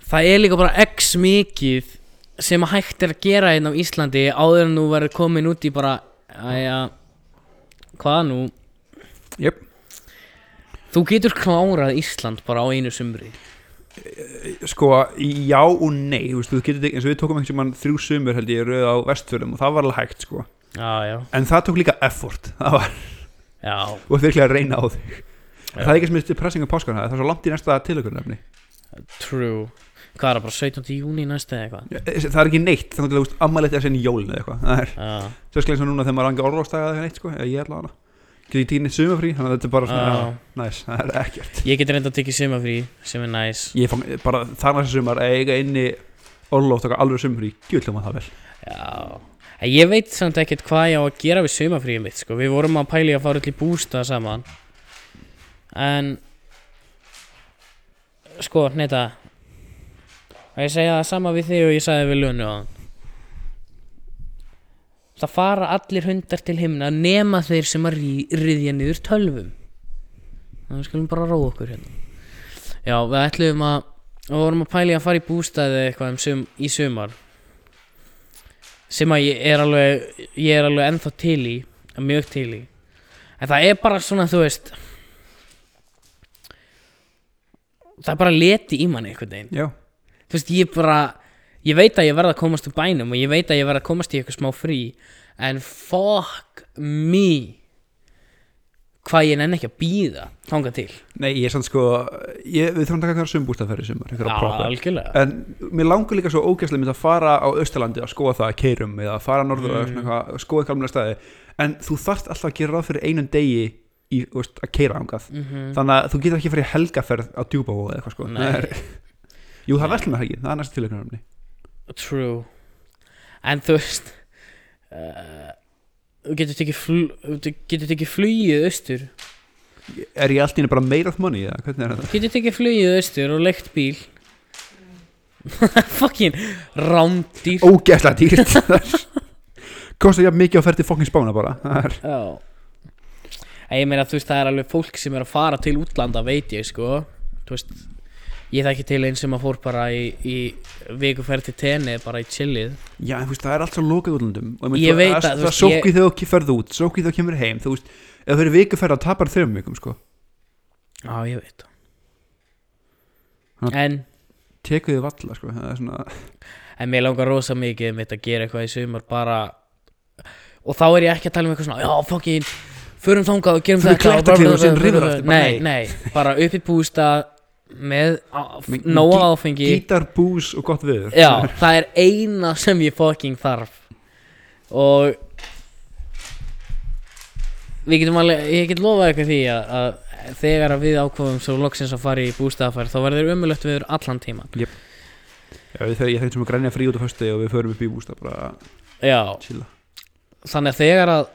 það er líka bara x mikið sem að hægt er að gera hérna á Íslandi áður en þú verður komin út í bara aðja, hvað nú Jöp, þú getur klárað Ísland bara á einu sumri sko, já og nei, þú veist, þú getur eins og við tókum einhvers mann þrjú sumur held ég í röð á vestfjörðum og það var alveg hægt sko já, já, En það tók líka effort, það var, já og virkilega að reyna á þig Já. Það er ekki sem þetta pressing á páskana, það er svo langt í næsta tilökunarefni True Hvað er það bara 17. júni næstu eða eitthvað? Já, Eh, Það er ekki neitt, þannig að ammælið er senni jólin eða eitthvað Það er Já, sérstaklega eins og núna þegar maður rangi orðvástaga eða eitthvað neitt sko, eða ég ætla hana Get ég tíðinni sumafrí, þannig að þetta er bara svona Já. Næs, það er ekkert Ég get reynda að tekja sumafrí sem er næs Ég fang bara þar næsta sumar að eiga inni orðvátt okkar alveg sumafrí, gjöldum að það vel Já En Ég veit samt ekkert hvað ég á að gera við sumafríum mitt sko. Við vorum að pæli að fara öll í bústa saman En Sko, neta Og ég segja það sama við þig og ég sagði við Lunu á Það fara allir hundar til himna nema þeir sem að rí, riðja niður tölvum Þannig við skulum bara róa okkur hérna Já, við ætluðum að Við vorum að pæli að fara í bústaði eitthvað um sum, í sumar sem að ég er alveg ég er alveg ennþá til í mjög til í en það er bara svona þú veist það er bara leti í manni einhvern veginn Já, þú veist ég bara ég veit að ég verða að komast úr bænum og ég veit að ég verða að komast í eitthvað smá frí en fuck me hvað ég nenni ekki að býða þanga til nei, ég er sann sko ég, Við þurfum að taka einhverja sumbústaferði sumar einhverja proper. algjörlega En mér langar líka svo ógæslega mynd að fara á Östurlandi að skoða það að keirum eða að fara norður mm. eitthvað, að skoða eitthvað almenna staði en þú þarft alltaf að gera ráð fyrir einum degi í, þú veist, að keira ángað Mhm. þannig að þú getur ekki að fara í helgaferð á djúbavóð eða eitthvað sko Mm. Nei. Það er- Jú, það er verslum það ekki, það er næsta tilöknaröfni True En þú veist uh, Þú getur tekið fl- þú getur tekið flugið austur Er ég allt í henni bara made of money eða hvernig er Þú (laughs) þetta? getur tekið flugið austur og leikt bíl (laughs) Fucking rándýr Ógæslega dýrt (laughs) það er- Kostar jafn mikið að ferð til fokkin spána bara Það er- Já En ég meina þú veist það er alveg fólk sem er að fara til útlanda veit ég sko Þú veist Ég þekki til einn sem að fór bara í, í vikuferð til tenni bara í chillið Já, en þú veist, það er allt svo lokað útlöndum og Ég veit það, að, það, þú það veist, sókvið þegar þú ferð út, sókvið þegar þú kemur heim þú veist, ef þú verið vikuferð að tapar þreim vikum sko. Já ég veit það En tekur þið valla sko. það er svona En mér langar rosa mikið um mitt að gera eitthvað í sumar bara Og þá er ég ekki að tala um eitthvað svona Já, fokkin, förum þangað og gerum Förum þetta og blablabla, klettaklefa og síðan blablabla." rifur aftur, bara Nei, nei, bara upp í bústað Með á- Með- nóa með áfengi gítar, bús og gott viður (laughs) Já, það er eina sem ég fokkin þarf Og Við getum alveg, ég get lofað ykkur því að, að þegar að við ákofum svo loksins að fara í bústaðafæri þá verður umulögt viður allan tíman Já, við þegar ég þegar sem að grænja frí út á föstu og við förum upp í bústa bara að Já, chilla þannig að þegar að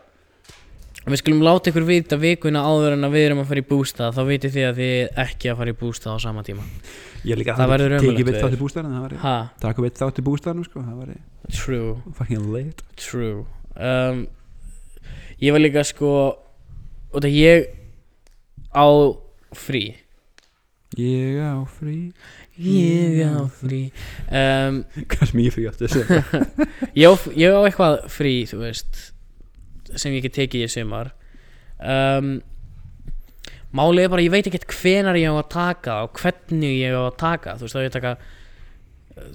við skulum láta ykkur vita vikuna áður en að við erum að fara í bústað þá vitið þið að þið ekki að fara í bústað á sama tíma ég er líka Það verður ömurlegt tekið veit veður. þátt í bústanum það var ha, takk veit þátt í bústanum sko, það var true, fucking late true um, ég var líka sko og það ég á frí ég á frí (laughs) ég á frí um, hvað sem ég frí átti þessu (laughs) ég, á, ég á eitthvað frí þú veist sem ég get tekið í sumar um, málið er bara ég veit ekkert hvenar ég á að taka og hvernig ég á að taka þú veist þá ég að taka uh,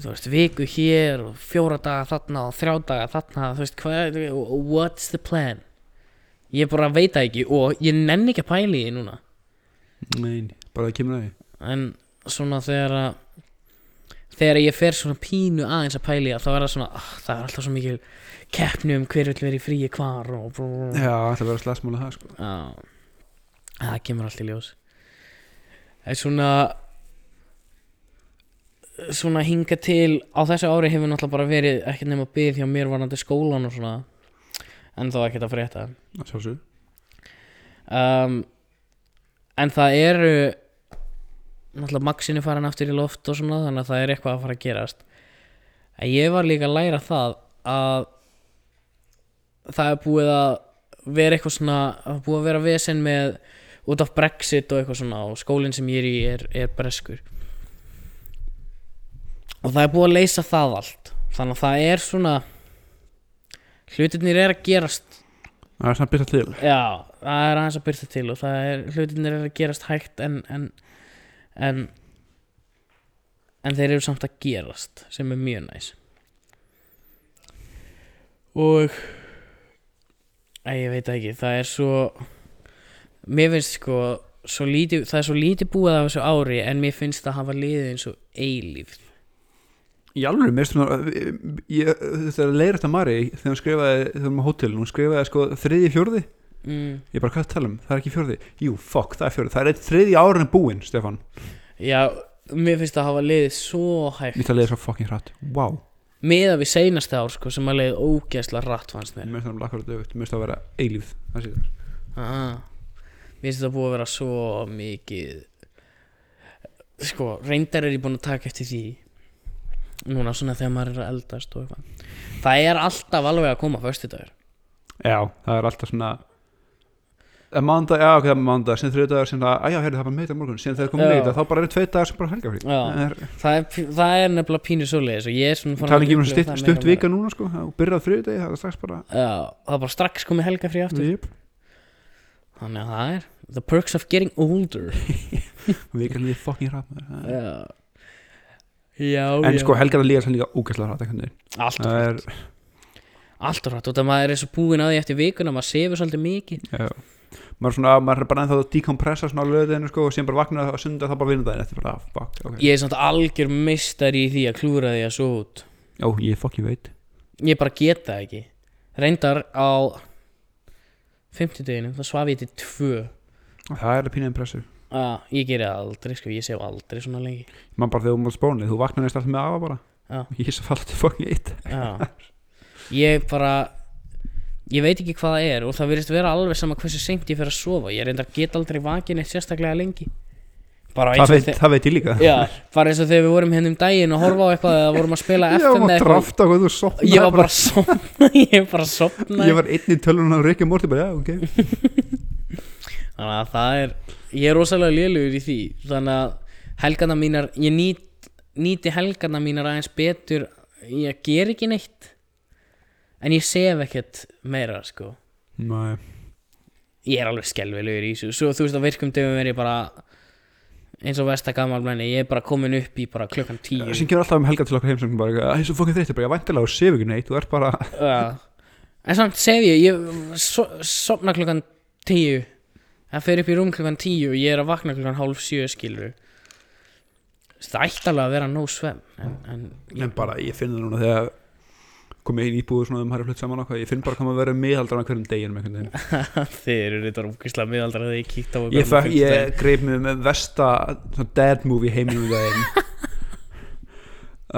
þú veist viku hér og fjóra daga þarna og þrjá daga þarna þú veist hvað what's the plan ég bara veit það ekki og ég nenni ekki að pæli því núna nein, bara það kemur að því en svona þegar að þegar ég fer svona pínu aðeins að pæli þá er það svona, ah, það er alltaf svo mikil keppni um hver vill verið fríi hvar og brú, já, það verður slagsmála það sko já það kemur allt í ljós en svona svona hinga til á þessu ári hefur náttúrulega bara verið ekkert nema byggð hjá mér varandi skólan og svona en þá ekkert að frétta að sjálfsögðu. um, En það eru Náttúrulega Maxinu farin aftur í loft og svona Þannig að það er eitthvað að fara að gerast En ég var líka að læra það Að Það er búið að vera eitthvað svona Það er búið að vera vesen með Út af Brexit og eitthvað svona Og skólinn sem ég er í er, er breskur Og það er búið að leysa það allt Þannig að það er svona Hlutirnir er að gerast það er svona byrja til Já, það er aðeins að byrta til og það er, hlutinir er að gerast hægt en en, en en þeir eru samt að gerast sem er mjög næs og Æ, ég veit það ekki, það er svo mér finnst sko svo lítið, það er svo lítið búið af þessu ári en mér finnst það hafa liðið eins og eilíf Í alveg, mér stundur ég þurfti að leira þetta Mari þegar hún skrifaði, þegar hún var á hótel hún skrifaði sko þriði fjórði mm. ég bara hvað er að tala um, það er ekki fjórði jú, fuck, það er fjórði, það er eitt þriði árun búinn, Stefan, já, mér finnst það hafa liðið svo ég hægt ætla að leiða svo fucking hratt wow, meða við seinasta ár sko sem að leiðið ógeðslega rætt fannst mér mér stundur að lakka þetta mér stundur að vera eilífð, það sé það Aha. Mér finnst þetta búið að vera svo mikið Sko, reyndar er ég búin að taka eftir því Núna svona þegar maður er að eldast og eitthvað Það er alltaf alveg að koma föstudagur já, það er alltaf svona að mándag, já, ok, það er mándag sem þriði dagar, sem það, að já, herri, það er bara meita morgun sem það er komið Já. meita, þá bara eru tvei dagar sem bara helgafrí Já. Það er- það, er pí- það er nefnilega pínu svoleiðis og ég er svona farinn tala ekki um upplifa stutt, það meira stutt og meira. vika núna sko, og byrjað þriði dagi, það er strax bara Já, það er bara strax komið helga frí aftur Jep. Þannig að það er The perks of getting older vikan líði fucking hratt maður. Það er- Já, já, en Oh, já. sko helgar að líða sann líka ógæslega hratt einhvern veginn. Allt það er, alltaf rætt og það maður er eins og búin að því eftir vikuna maður sefur svolítið mikið já, maður er svona maður er bara ennþá að dekompressa svona á löðinu sko, og sem bara vakna það á sunda þá bara vinna það eftir bara, ah, fuck, ok, Ég er samt algjör meistar í því að klúra því að svo út já, ég fucking veit Ég bara get það ekki Reyndar á 50 deginu, þá svaf ég til tvö það er að pína impressu, ah, Ég geri það aldrei, sko, ég sef aldrei svona lengi maður bara þegar þú mátt spónið, þú vaknar næst alltaf með afa bara Já. ég svo falla til fucking eitt Já Ég bara Ég veit ekki hvað það er og það virðist vera alveg sama hversu seint ég fer að sofa Ég reyndar get aldrei vakin eitt sérstaklega lengi Bara það eins og veit, þegar það veit ég líka Já, bara eins og þegar við vorum hérna um daginn og horfa á eitthvað eða vorum að spila ég FM var eða að eitthvað drafta hvað þú sopnaði Ég var bara sopna Ég bara sopna ég var einn í tölunum á Rikki Morti bara, já, ok (laughs) Þannig að það er Ég er rosalega lélugur í því Þannig að helgarna mínar Ég nýt, nýti helgarna mínar aðeins betur Ég ger ekki neitt En ég sef ekkert meira sko Nei. Ég er alveg skelvilegur í þessu Svo þú veist á virkum döfum er ég bara Eins og vesta gammal menni Ég er bara komin upp í bara klukkan tíu sem gerur alltaf um helga til okkar heimsöngum bara, það er svo fucking þreytið, bara, ég væntilega og séu ekki neitt þú ert bara, Já. En samt sef ég Ég so, sopna klukkan tíu Það fer upp í rúm klukkan tíu Og ég er að vakna klukkan hálf sjö skilur Það ætti alveg að vera nóg svefn En, en (laughs) en bara, ég finn það núna þegar komið inn íbúður svona um harri flutt saman og eitthvað, ég finn bara hvað maður verið miðaldran á hverjum deginum einhvern veginn þið eru þetta rúkislega miðaldra Þegar ég kíkt á ykkur Ég, annað fæ, fimmtudaginn. ég greip mig með versta svona dad movie heiminum í daginn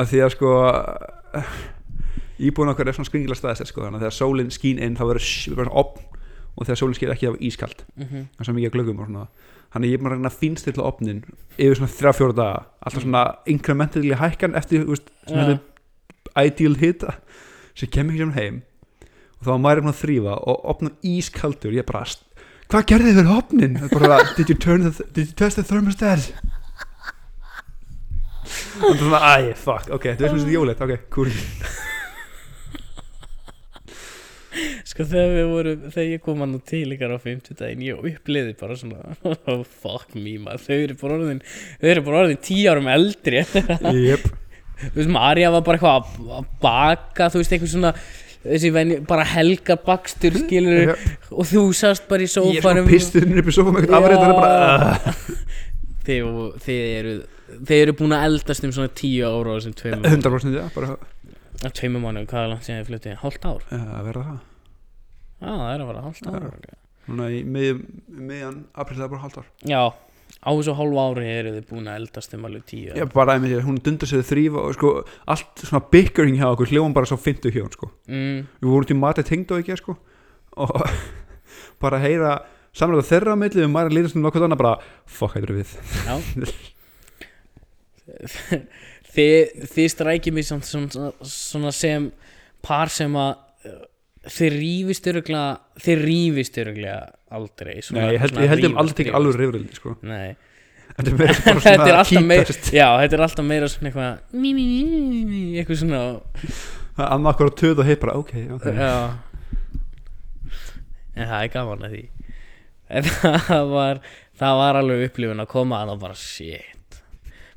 að því að sko íbúin okkar er svona skringilega staðist sko, þannig að þegar sólinn skín inn þá verður sh- verður opn og þegar sólinn skín ekki þá er ískalt Mhm. það er svo mikið að glöggum og svona þannig að ég er maður að reyna að finnst til opnin yfir svona þrjá fjóra daga alltaf svona incrementally hækkan eftir þú veist, svona Já. þetta ideal hita sem kemur ekki sem heim og þá var maður er að þrýfa og opna ískaldur ég bara hvað gerði þið fyrir opnin Það er bara, did, you turn the, did you test the thermostat og það er svona æ, fuck, ok, þetta er svona svona jólegt ok, cool Sko þegar við vorum Þegar ég kom hann til ykkar á 50 daginn Ég uppliði bara svona (laughs) oh, Fuck me maður Þau eru bara orðin Þau eru bara orðin 10 árum eldri yep. þú veist, Marja var bara eitthvað að- að baka, þú veist, eitthvað svona þessi venni, bara helgar bakstur skilur Yep. og þú sást bara um- í ég er svona sófanum pisturinn upp í sofa með eitthvað afrið það er bara, þið, þið eru þið eru búin að eldast um svona tíu ára á þessum uh, tveimur 100% já, bara á tveimur mánu, hvað er langt síðan ég flutti hálft ár, uh, verða það já það er að vera hálft ár Núna í mið, miðjan april það er bara halvt ár já, á þessu hálfu ári eru þið búin að eldast um alveg tíu Ég bara aðeins, hún dundar sér að þrýfa og sko allt svona bickering hjá okkur hljóðum bara svo fyndu hjá hún sko mm, Við vorum til matið tengd og ekki sko og (laughs) bara að heyra samlega þeirra á milli við maður að lýta svona nokkuð annað bara fuck hættur við já þið, þið strækið mér samt svona, svona sem par sem að uh, þið rífist öruglega þið rífist öruglega aldrei svona, Nei, ég held, svona ég held um rífast, allt ekki rífast. alveg reyfrildi sko Nei. (laughs) Þetta er meira bara þetta er svona alltaf meira kýtast já, þetta er alltaf meira svona eitthvað mí, mí, mí, mí, mí, mí, eitthvað svona Annað okkur að töð og heit bara ok, ok já en það er gaman að því en (laughs) það var það var alveg upplifun að koma að það bara shit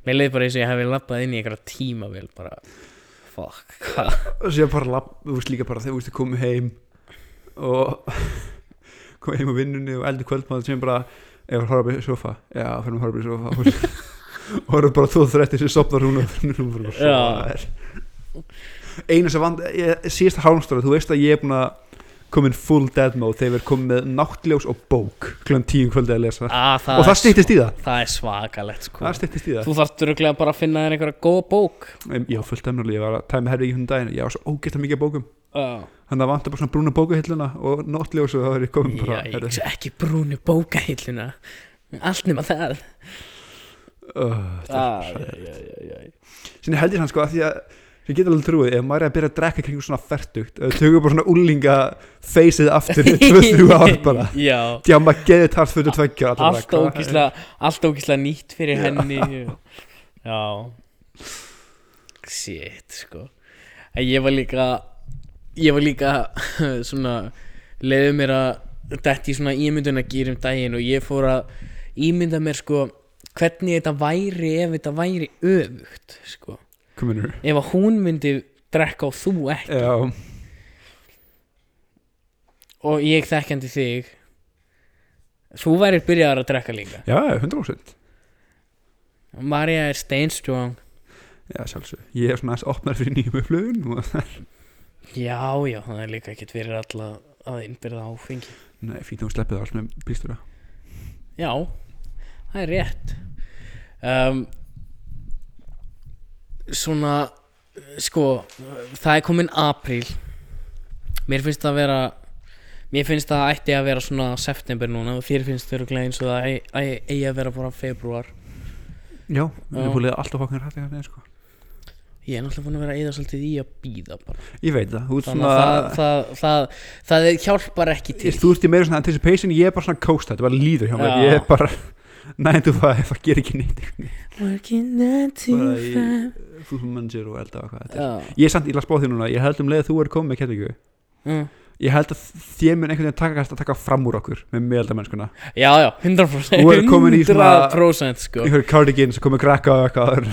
mér leið bara eins og ég hefði lappað inn í einhverja tímavél bara fuck, hvað (laughs) og sér bara lapp, þú veist líka bara þegar þú veist að (laughs) koma heim og koma heim á vinnunni og eldi kvöldmaður sem bara ef hann horfa upp í sofa já, fyrir hann horfa upp í sofa (laughs) þú veist. og horfa bara þú þrætti sem sopnar hún og fyrir hún bara Já. sofa einu sem vand ég- síðasta hálmstóra, þú veist að ég er búin að koma inn full dead mode þegar við erum komið með náttljós og bók klukkan tíum kvöldi að lesa Ah, það og er það stýttist í það svo- það er svakalegt sko það stýttist í það Þú þarft öruglega bara að finna þér einhverja góða bók Em, ég var fullt emnulega, ég var að tæmi herri í hundin daginn ég var svo ógæsta mikið af bókum Já, þannig að vantar bara svona brúna bókahilluna og náttljós og það er ég komin bara herri, Jæks, ekki brúni bókahilluna Allt nema það uh, Ah, jæ, jæ, jæ, jæ. sinni held ég hann sko að því að sem ég get alveg trúið, ef maður er að byrja að drekka kringum svona fertugt, ef við tökum bara svona úlinga feysið aftur 2-3 ár (laughs) bara Já, já maður geði tart 42 ára allt ógislega Allt ógislega nýtt fyrir henni (laughs) Já Shit, sko En Ég var líka Ég var líka (laughs) svona leiði mér að detti svona ímynduna um daginn og ég fór að ímynda mér sko hvernig þetta væri ef þetta væri öfugt sko kominur ef að hún myndi drekka og þú ekki já, og ég þekkjandi þig þú værir byrjaðar að drekka líka já, 100% Marja er steinstrong já sjálfsög, ég er svona aðeins opnar fyrir nýjum upplöfun og (laughs) já já það er líka ekkert fyrir alla að innbyrða áfengi nei, fínt að hún sleppið alls með bílstúra já það er rétt um, svona sko það er komin apríl mér finnst það að vera mér finnst það ætti að vera svona september núna og þér finnst þau eru eins og það eigi- eigi eigi að vera bara februar já, við erum búin að leiða alltaf fokkar hrætt einhvern veginn sko Ég er náttúrulega búin að vera að eyða svolítið í að býða bara ég veit það, þú ert Þannig að það, svona það, það, það hjálpar ekki til þú ert í meira svona anticipation, ég er bara svona coast þetta bara líður hjá mér, Já. ég er bara (laughs) 9 to 5, það ger ekki neitt Working nine to bara í five. fúsum manager og elda og hvað þetta er Já, ég er samt illa að spá því núna, ég held um leið að þú er komið með Keflavíku, mm. ég held að þér mun einhvern veginn takast að taka fram úr okkur með meðaldamennskuna, já, já, 100% Þú ert komin í svona- 100% sko einhver cardigan sem komið krakka og eitthvað,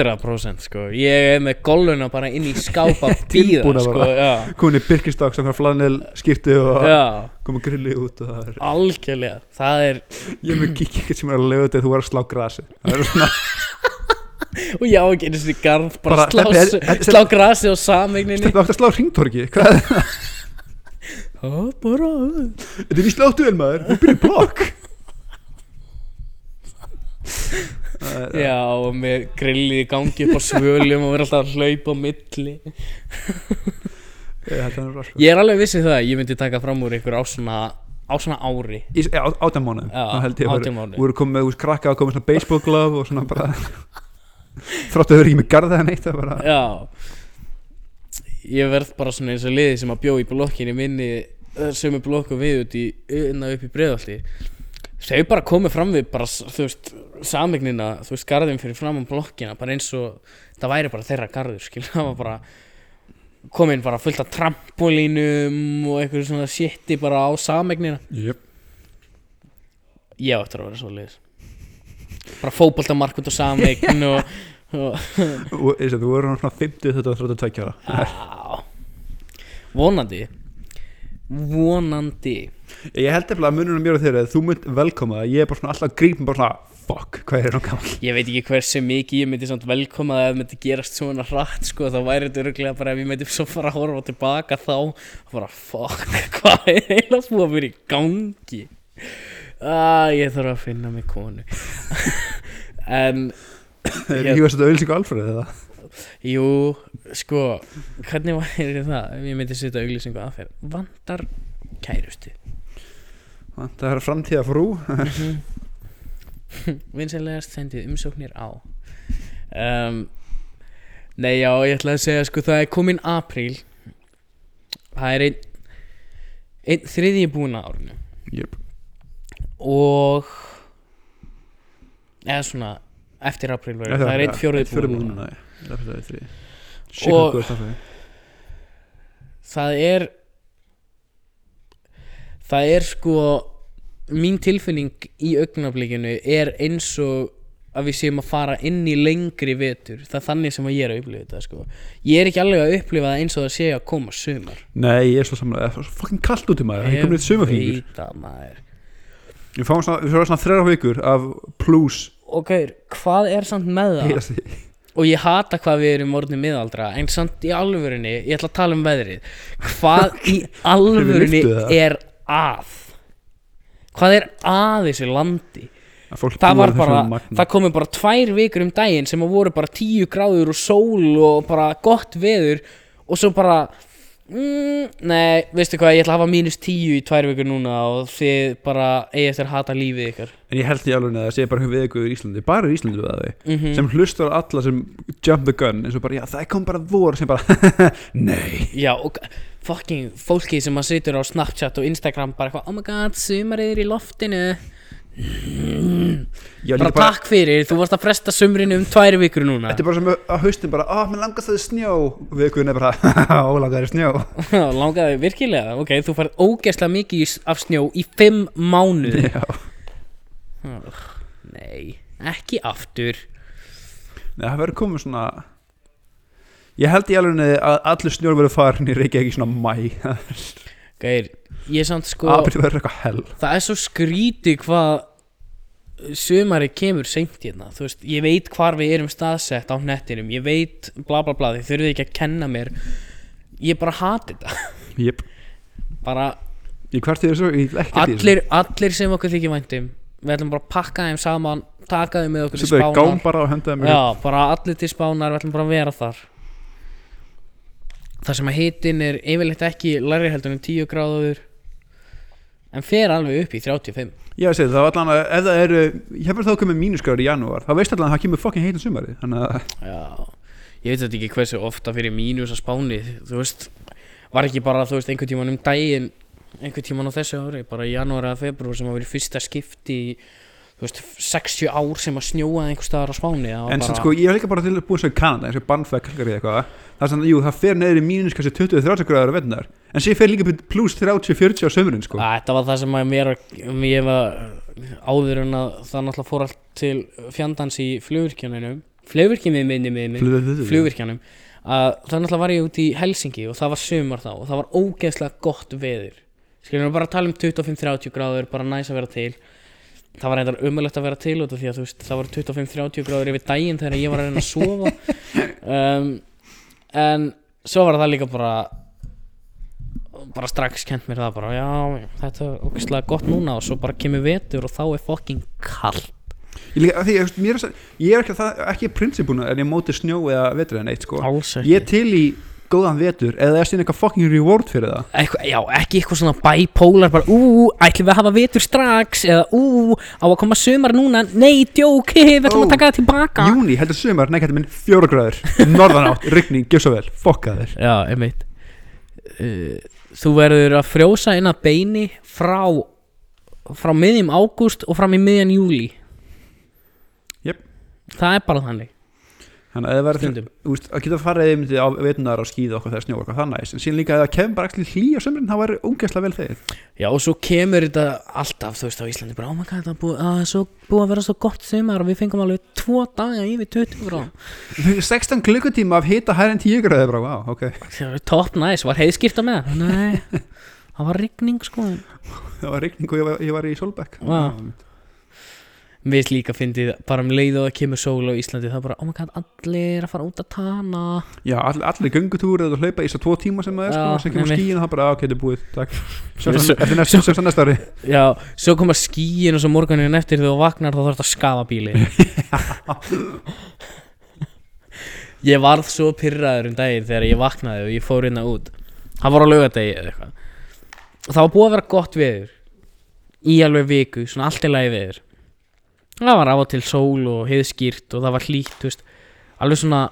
100% sko Ég er með goluna bara inn í skápa býða (laughs) Tilbúna sko bara. Já, komið Birkenstock sem fyrir flanel skiptu og já, komið grilli út og það er, algjörlega Það er, ég mun kíkja eitthvað sem er að lögða þegar þú er að slá grasi það er svona, og já, ekki einu sinni garð Bara, Bara, slá, þetta er- slá grasi á sameigninni þetta átt að slá ringtorki hvað, er- Ó, bara þetta er víst láttu vel maður, þú byrjir blokk Það er- Já, og með grillið í gangi upp á svölum og vera alltaf að hlaupa á milli ég held að það er bra, sko. Ég er alveg vissið það, að ég myndi taka fram úr ykkur á svona, á svona ári Í- já, á- átján mánuðum Já, þá held ég að vera- átján mánuðum. voru komið með úr krakka og komið svona baseball glove og svona bara (laughs) þróttu að vera ekki með garða en eitt það bara Já Ég verð bara svona eins og liði sem að bjó í blokkinni minni eh, sömu blokku við út í unna upp í breiðalti Þau bara komið fram við bara, s- þú veist, samegnina þú veist, garðin fyrir fram á blokkina bara eins og, það væri bara þeirra garður skil, það var bara komin bara fullt af trampolínum og einhverju svona shiti bara á samegnina yep. Ég á eftir að vera svo liðis Bara fótboltamark út á sameign og, og og eins og þú voru svona 50 þetta var 32 ára Já Vonandi Vonandi ég held eftir að mununum mér og þér er að þú mynd velkoma að ég er bara svona alltaf grípum bara svona fuck, hvað er hann gammal Ég veit ekki hversu mikið ég myndi samt velkoma að ef myndi gerast svona hratt sko þá væri þetta öruglega bara ef ég myndi svo fara að horfa tilbaka þá bara fuck (laughs) hvað er eiginlega búið að vera í gangi Ah, ég þarf að finna mig konu (laughs) En er Ég- ekki að setja auðvilsingu alfræði eða Jú, sko, hvernig væri það ef ég myndi setja auglýsingu aðferð? Vandar kærustu. það er framtíða frú Vinsanlegast sendið umsóknir á. Um, nei, já, ég ætla að segja, sko, það er komin apríl. Það er einn, einn þriðji búin að árinu. yep. Og, eða svona, eftir apríl verður. Það er einn fjórið búin. búin búin núna, já. Það er fyrir því. Shit, Og- hvað þú ert að fara. það er það er sko mín tilfinning í augnablikinu er eins og að við séum að fara inn í lengri vetur það er þannig sem að ég er að upplifa þetta sko. ég er ekki alveg að upplifa það eins og það sé að koma sumar nei, ég er svo samlega það er svo fucking kallt út í maður, ég kom neitt sumafíkur Veit það, maður Við fáum svona, við fáum svona þrjara vikur af plus ok, hvað er samt með það heilast því og ég hata hvað við erum orðin miðaldra en samt í alvörunni, ég ætla að tala um veðrið (laughs) hvað í alvörunni Hefur lyftu það? er að hvað er að þessu landi að fólk það búa var við bara, þessu magna. það komi bara tvær vikur um daginn sem að voru bara tíu gráður og sól og bara gott veður og svo bara mm, nei, veistu hvað, ég ætla að hafa mínus tíu í tvær vikur núna og þið bara eigið eftir að hata lífið ykkar En ég held í alveg að það sé bara við ykkur í Íslandi Bara í Íslandi við það mm sem hlustar á alla sem jump the gun eins og bara, já það kom bara (laughs) vor sem bara, nei Já, og fucking fólki sem að situr á Snapchat og Instagram bara eitthvað, oh my god, sumarið er í loftinu Já, líka bara takk fyrir, þú varst að fresta sumrinu um tvær vikur núna (laughs) Þetta er bara sem á haustin bara, ah, mér langast það í snjó og við ykkur er bara, (laughs) haha, ólangar það í snjó Já, Langaði virkilega, ok, þú færð ógeðslega mikið í- af snjó í fimm mánuði (laughs) Já, Nei, ekki aftur Nei, það verður komið svona Ég held í alveg að allur snjór verður farin í Reykjavík í svona mæ Gæir, ég samt sko April verður eitthvað hell Það er svo skrítið hvað sumarið kemur seint hérna þú veist, ég veit hvar við erum staðsett á nettinum, ég veit bla bla bla þið þurfið ekki að kenna mér ég bara hati þetta Jep, bara ég hvert því þessu, ég vil ekki allir, allir sem okkur þykir væntum við ætlum bara að pakka þeim saman taka þeim með okkur Svo þau gám bara og hendaði mér já, bara allir til spánar við ætlum bara að vera þar þar sem að hitin er yfirleitt ekki læri heldur en 10 gráður en fer alveg upp í 35 Já, ég segi það var allan að, ef það eru Ég hefur þá komið mínusgráður í janúar þá veist allan að það kemur fokkin heitin sumari Þannig að, Já, ég veit þetta ekki hversu ofta fyrir mínus að spáni, þú veist, var ekki bara, þú veist, einhvern tíman um daginn, einhvern tíman á þessu ári, bara í janúar eða februar sem að verið fyrsta skipti í, þú veist, 60 ár sem að snjóaði einhver staðar á spáni. það var en bara, sem sko, ég var líka bara til að búin svo í Kanada eins og bannfæk kalkari eitthvað Það er svona, jú, það fer neður í mínus kannski 20-30 gráður á vetnar En sér fer líka plus 30-40 á sömurinn sko Að, þetta var það sem að mér, ég var áður en að það náttúrulega fór allt til fjandans í flugvirkjaninu, flugvirkjaninu minni minni, Mhm. flugvirkjanum, að það náttúrulega var ég út í Helsingi og það var sumar þá og það var ógeðslega gott veður skilum við bara að tala um 25-30 gráður bara næs að vera til það var reyndar umöðlegt að vera til út af því að þú veist það var 25-30 gráður yfir daginn þegar ég var að reyna að sofa um, en svo var það líka bara bara strax kent mér það bara já, þetta er ógeðslega gott núna og svo bara kemur vetur og þá er fucking kall Ég, líka, af því, ég, veist, mér er, sa- ég er ekki, það, ekki prinsipuna en ég móti snjó eða vetur en eitt sko. alls ekki Ég er til í góðan vetur eða það er síðan eitthvað fucking reward fyrir það Eitthva, já, ekki eitthvað svona bipolar bara, ú, ætlum við að hafa vetur strax eða, ú, á að koma sumar núna nei, djók, (laughs) við ætlum Ó. að taka það tilbaka Júni, heldur sumar, nekkætti minn, fjóra græður Norðanátt, (laughs) rigning, gef svo vel, fokka þér Já, einmitt uh, Þú verður að frjósa inn að beini frá frá miðjum ágúst og fram í miðjan júli Jep. Það er bara þannig Þannig að það verður Stundum. úst, að geta farið einmitt á vetunar á skíða okkur þegar snjó okkur það er næs en síðan líka að það kemur bara ekki hlýja sumrin þá er ungesla vel þegið Já, og svo kemur þetta alltaf, þú veist, á Íslandi bara, oh my god, það er búið, að, svo, búið að vera svo gott sumar og við fengum alveg tvo daga yfir 20 gráðum 16 klukkutíma af hita hær en 10 græður bara, wow, ok, (laughs) Það var top nice, var heiðskipta með það? Nei, (laughs) það var rigning sko það var rigning og ég var, ég var í Solbekk Vá. Við líka fyndið, bara um leið og það kemur sól á Íslandi Það er bara, oh my god, allir að fara út að tana Já, all, allir göngutúr eða þú hlaupa í þess að tvo tíma sem það er sko, Já, sem kemur einmitt. skíin og það bara, "Ah, ok, þetta er búið, (laughs) takk Svo- Þetta er næst, sem næst ári Já, svo koma skíin og svo morgunin eftir þegar þú vagnar þá þarf þetta að skafa bíli Ég varð svo pyrraður um daginn þegar ég vaknaði og ég fór hérna út Það var á laugardegi eða eitthvað Og það var búið að vera gott veður Í alveg viku, svona allt í lagi veður Það var af og til sól og heiðskýrt og það var hlýtt, þú veist Alveg svona,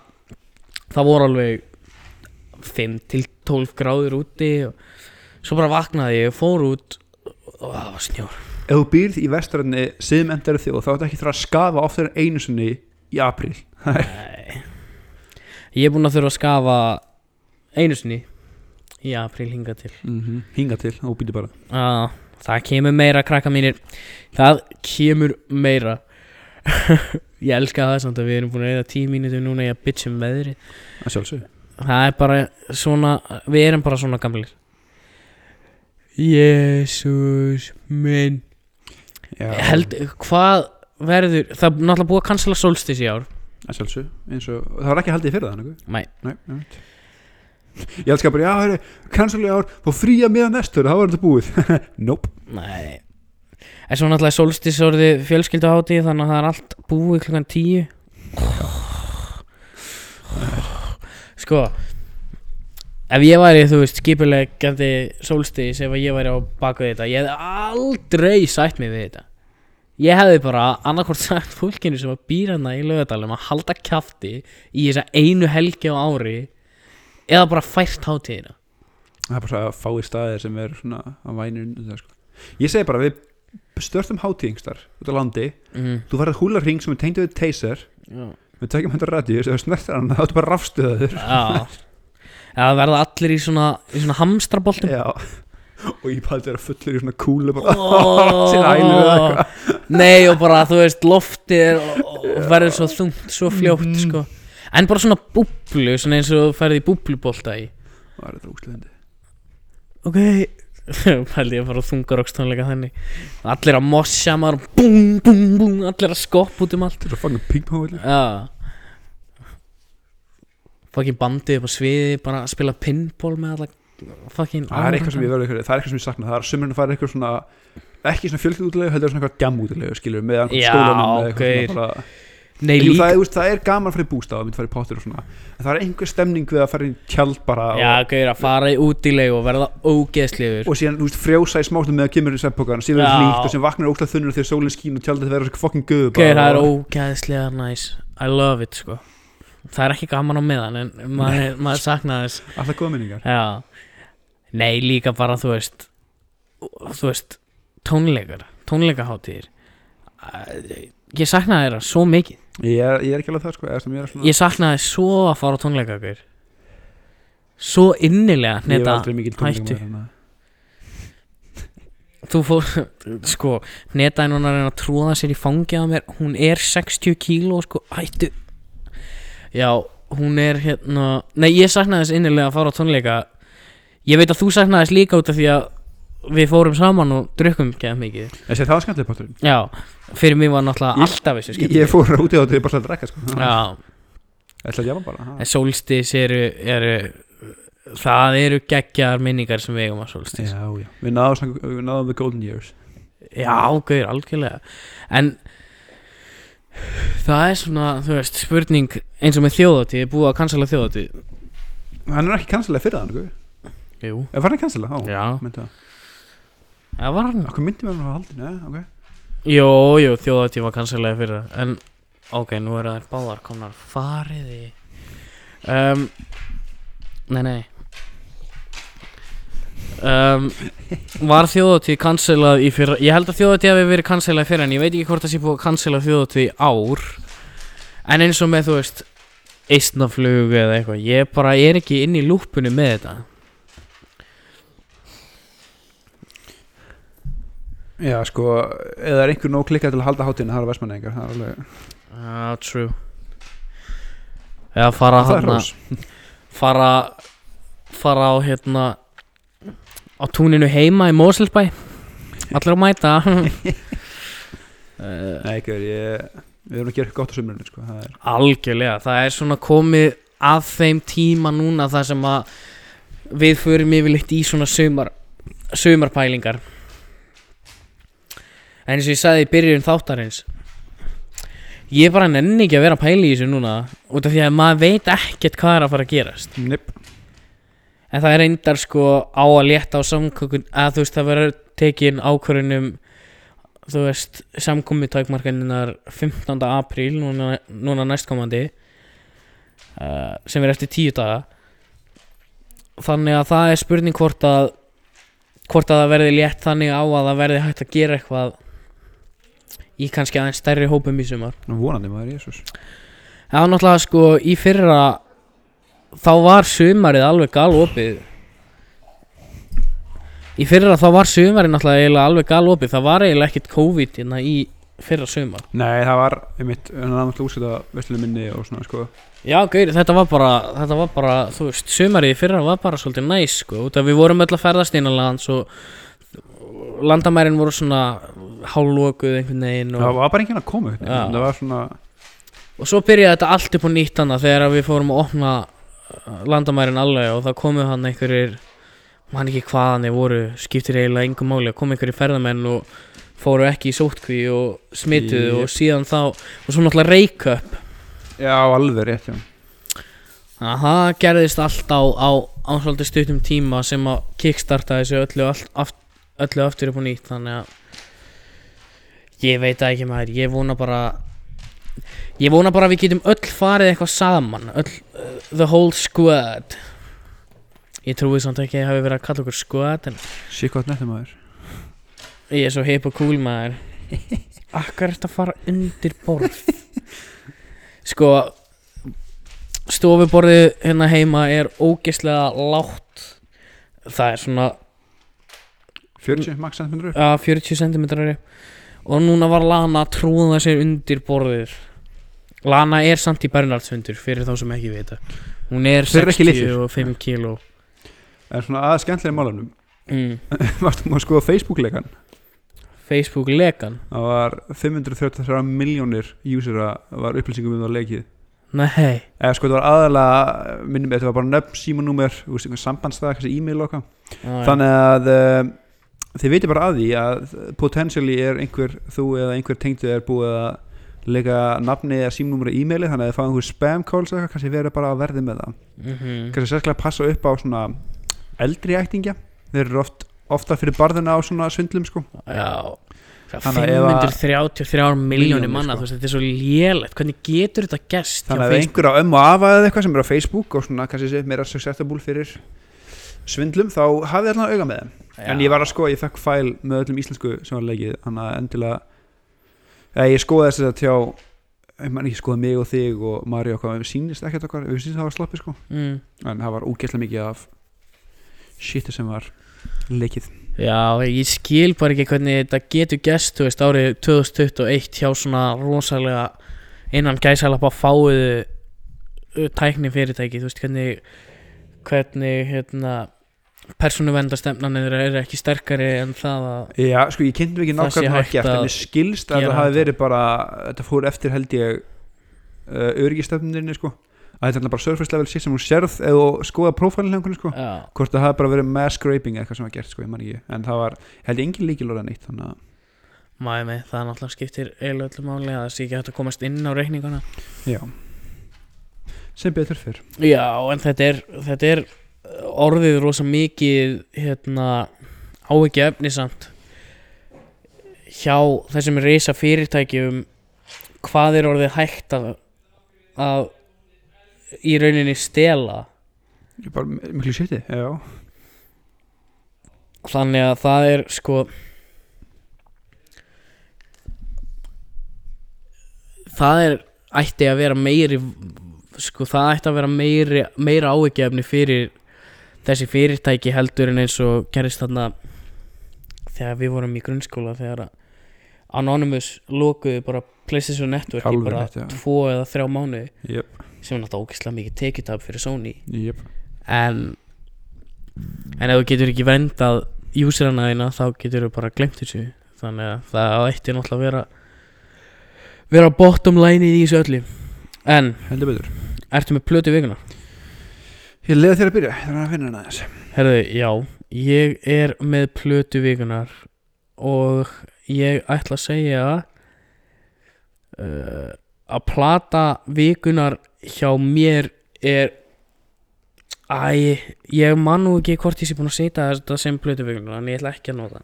það voru alveg 5 til 12 gráður úti og Svo bara vaknaði ég og fór út og það var snjór Ef þú býrð í vestræðinni sem endar þjóð þá ætti ekki þurfa að skafa oftar en einu sinni í apríl Nei Ég er búinn að þurfa að skafa einu sinni í apríl hinga til mm -hmm. Hinga til, þá býtu bara ah, Það kemur meira krakka mínir Það kemur meira (laughs) Ég elska það samt að við erum búin að eða tíu mínutum núna í að bitch um veðri að sjálfsög Það er bara svona Við erum bara svona gamlir Jésús minn Já, held, hvað verður það er náttúrulega búið að cancela solstis í ár að sjálfsög, eins og það var ekki haldið fyrir það nokkuð? Nei. Nei, nei Ég elskar bara, já, heyri, cancel í ár og fría meðan næstur, það var þetta búið (laughs) Nope Nei En svo náttúrulega solstis orðið fjölskyldu þannig að það er allt búið klukkan tíu Sko Ef ég væri, þú veist, skipulegjandi solstis ef ég væri á baku þetta ég hefði aldrei sætt mig við þetta Ég hefði bara annarkvort sagt fólkinu sem að býra hana í lögadalum að halda kjafti í þessa einu helgi á ári eða bara fært hátíðina Það er bara svo að fái staðir sem er svona að væni undir það sko Ég segi bara, við störtum hátíðingstar út á landi, mm. þú farið húla ring sem er tengd við taser, Já við tekjum hendur radíu sem snertir hann, þá áttu bara rafstöður Já Já, það verða allir í svona, í svona (laughs) hamstraboltum Já Og ég bara þetta er fullur í svona kúlu bara (laughs) Sinna ælu eða eitthvað oh, Nei og bara þú veist loftið er, og- og verður svo þungt, svo fljótt Mhm. sko. En bara svona búblu, svona eins og þú ferði í búblubolta í Það er þetta úslendi Ok (laughs) Pældi ég að fara á þungarokstónleika þannig Allir að mossa maður, búm, búm, búm Allir að skopp út um allt Þetta er svo fangum pingpong Já Fucking bandið upp á sviði, bara að spila pinball með alla Fucking Það er eitthvað sem ég verður eitthvað, það er eitthvað sem ég sakna Það er sumurinn að fara eitthvað svona Ekki svona fjölkið útilegu, heldur svona eitthvað gamm útilegu Skilur með einhvern Já, skólanum eða eitthvað gaur. svona bara- Nei, Jú, líka það, er- þú veist, það er gaman að fara í bústað að fara í pottur og svona En það er einhver stemning við að fara í tjald bara Já, gauður að fara í útilegu og verða ógeðsliður Og, og síðan þú veist, frjósa í smáttum með að kemur í svefnpokan Síðan er Já. hlýtt og síðan vaknar ókslega þunnur þegar sólinn skín og tjaldið verður svo fucking guðu Gauður, það er ógeðslega næs I love it, sko Það er ekki gaman á meðan en maður, maður sakna þess Alltaf góða minningar Já Nei, líka bara, þú veist Þú veist, tónleikar Tónleikaháttíðir Æ, Ég saknaði þeirra svo mikið Ég er, ég er ekki alveg það sko, eða sem ég er svona Ég saknaði svo að fara á tónleika, gauður Svo innilega Ég var hneta aldrei hérna. mikil hættu. tónleikamaður, þannig að- Þú fór, sko, neta er núna að reyna að tróða sér í fangja á mér Hún er 60 kíló, sko, hættu Já, hún er hérna Nei, ég saknaði þess innilega að fara á tónleika Ég veit að þú saknaði þess líka út af því að Við fórum saman og drukkum geða mikið Ég segi, Það var skemmtileg potturinn Já, fyrir mig var náttúrulega Ég- alltaf þessu Ég skemmtileg fór út í þáttu, ég bara slæði rekka sko Já, Ég ætla að jafa bara ha. en solstis eru, eru Það eru geggjaðar minningar sem við eigum að solstis Já, já Við náðum, sang- við náðum the golden years Já, gauður, algjörlega En Það er svona, þú veist, spurning eins og með þjóðatíð, er búið að cancela þjóðatíð Hann er ekki kansilega fyrir það nokkuð. Jú Er var hann kansilega? Já Já, Meinti það. það var hann Akkur myndi mér hann á haldinu, eh? ok Jó, jú, þjóðatíð var cancelaði fyrir það En, ok, nú eru þær báðar komnar fariði um, Nei, nei um, Var þjóðatíð cancelað í fyrra Ég held að þjóðatíð hafi verið cancelaði fyrir En ég veit ekki hvort það sé búið að cancela þjóðatíð í ár En eins og með, þú veist Eistnaflug eða eitthvað Ég bara er ekki inn í lúppunni með þetta Já, sko, eða er einhver nóg klikkað til að halda hátinu, það er vestmanningar Það er alveg, Ah, true Eða fara það er hana hrós fara fara á hérna á túninu heima í Moselbæ allir að mæta (laughs) uh, Nei, ekki, ég, við erum að gera eitthvað gott á sumrunni, sko Það er, algjörlega, það er svona komið að þeim tíma núna þar sem að við förum yfirleitt í svona sumar sumarpælingar en eins og ég sagði í byrjun þáttarins ég bara nenni ekki að vera að pæla í þessu núna út af því að maður veit ekkert hvað er að fara að gerast nip En það er reyndar sko á að létta á samkökun að þú veist það verður tekin ákvörunum þú veist samkomið tækmarkaninnar 15. apríl núna, núna næstkomandi uh, sem er eftir tíu daga þannig að það er spurning hvort að hvort að það verði létt þannig á að það verði hægt að gera eitthvað í kannski aðeins stærri hópum í sumar Nú vonandi maður, jésus Það var náttúrulega sko í fyrra þá var sumarið alveg galopið Í fyrra þá var sumarið náttúrulega eiginlega alveg galopið Það var eiginlega ekkert COVID hérna í fyrra sumar Nei, það var, einmitt, hann er náttúrulega útsett að vestlunum minni og svona, sko Já, gaur, þetta var bara, þetta var bara, þú veist, sumarið í fyrra var bara svolítið næs, sko Út af við vorum öll að ferðast innanlands og landamærin voru svona hálókuð einhvern veginn og, það var bara enginn að koma einhvern veginn. Já. það var svona og svo byrjaði þetta allt upp á nýtt hana þegar að við fórum að opna uh, landamærin alveg og það komu hann einhverjir mann ekki hvaðan þeir voru skiptir eiginlega engum máli, komu einhverjir ferðamenn og fóru ekki í sótkví og smituðu Jep. og síðan þá og svo náttúrulega reykjöp já alveg rétt já. það gerðist allt á, á, á svolítið stuttum tíma sem að kickstarta þessu öllu, all, aft, öllu aftur upp á nýtt þannig að ég veit það ekki maður, ég vona bara ég vona bara að við getum öll farið eitthvað saman öll, uh, the whole squad ég trúi samt ekki að ég hafi verið að kalla okkur squad en sík gott nettum aður ég er svo hip og cool (laughs) maður akkur er þetta að fara undir borð (laughs) sko stofuborðið hérna heima er ógeðslega lágt það er svona 40 max centimeter upp að 40 cm og núna var Lana að trúða sér undir borðið Lana er samt í Bernhardshundur fyrir þá sem ekki vita hún er Þeir eru ekki litlir. 65 kg en svona að skemmtilega (laughs) málunum mm. vartum að skoða Facebook-leikan Facebook lekan það var 533 miljónir usera var upplýsingum um það leikið nei, eða sko þetta var aðalega minnum þetta var bara nöfn, símanúmer, þú veist, einhver sambandstæða kannski e-mail og okkar þannig þannig að uh, þið veitir bara að því að potentially er einhver þú eða einhver tengdu er búið að leika nafni eða símnúmur í e-maili þannig að þið fáið einhver spam calls eða eitthvað kannski verið bara að verði með það mm -hmm. kannski sérskilega passa upp á svona eldri ættingja þeir eru oft, ofta fyrir barðina á svona svindlum sko já Það Þannig að ef að- 533 miljónir Milljónir, manna sko. þú veist, þetta er svo lélegt hvernig getur þetta gest þannig að ef einhver á ömmu og afa eða eitthvað sem er á Facebook og svona kannski sé meira successable fyrir svindlum þá hafið þarna auga með þeim En ég var að skoða, ég fekk fæl með öllum íslensku sem var leikið, þannig að endilega eða ég skoði þess að tjá ég man ekki skoði mig og þig og Mari og hvað, við sýnist ekkert okkar, við sýnist það var sloppið sko, mm. en það var úgeðslega mikið af shiti sem var leikið. Já, ég skil bara ekki hvernig þetta getur gest, þú veist, árið 2021 hjá svona rosalega innan gæsalapa fáiðu uh, tækni fyrirtæki, þú veist, hvernig, hvernig, hérna, persónuvendastemnanir eru ekki sterkari en það að, Já, sko, ég kynntum ekki Það sé nákvæmlega hægt hvað gert, að en ég skilst að gera þetta hafi þetta. verið bara, þetta fór eftir held ég uh, öryggistöfninni sko, að þetta er bara surface level shit sem hún sérð eða skoða prófælinn einhvern sko. já, hvort það hafi bara verið mass scraping eða eitthvað sem var gert sko, ég man ekki, en það var ég held ég engin líkilorða neitt þannig að, maður með, það náttúrulega skiptir eiginlega öllu máli að það sé ekki hægt að komast inn á reikningana. já sem betur fyrr Já, en þetta er, þetta er uh, orðið rosa mikið hérna, áhyggja efnisamt hjá þessum reysa fyrirtækjum hvað er orðið hægt að, að í rauninni stela ég bara mi- miklu shiti, já þannig að það er sko það er ætti að vera meiri sko það ætti að vera meiri meira áhyggjefni fyrir þessi fyrirtæki heldur en eins og gerist þarna þegar við vorum í grunnskóla þegar að Anonymous lokuðu bara PlayStation Network í Alveg bara rétt, já. tvo eða þrjá mánuði jöp, sem er náttúrulega ógeðslega mikið tekjutab fyrir Sony jöp en en ef þú getur ekki vendað userana þína þá getur þú bara glemt þessu þannig að það ætti náttúrulega að vera vera bottom line í þessu öllu en heldur betur ertu með plötu vikuna? ég leiði þér að byrja, þannig að finna hana aðeins Herðu, já, ég er með plötu vikunar og ég ætla að segja uh, að plata vikunar hjá mér er Æ, ég man nú ekki hvort ég sé búin að setja þetta sem plötu vikunar en ég ætla ekki að nota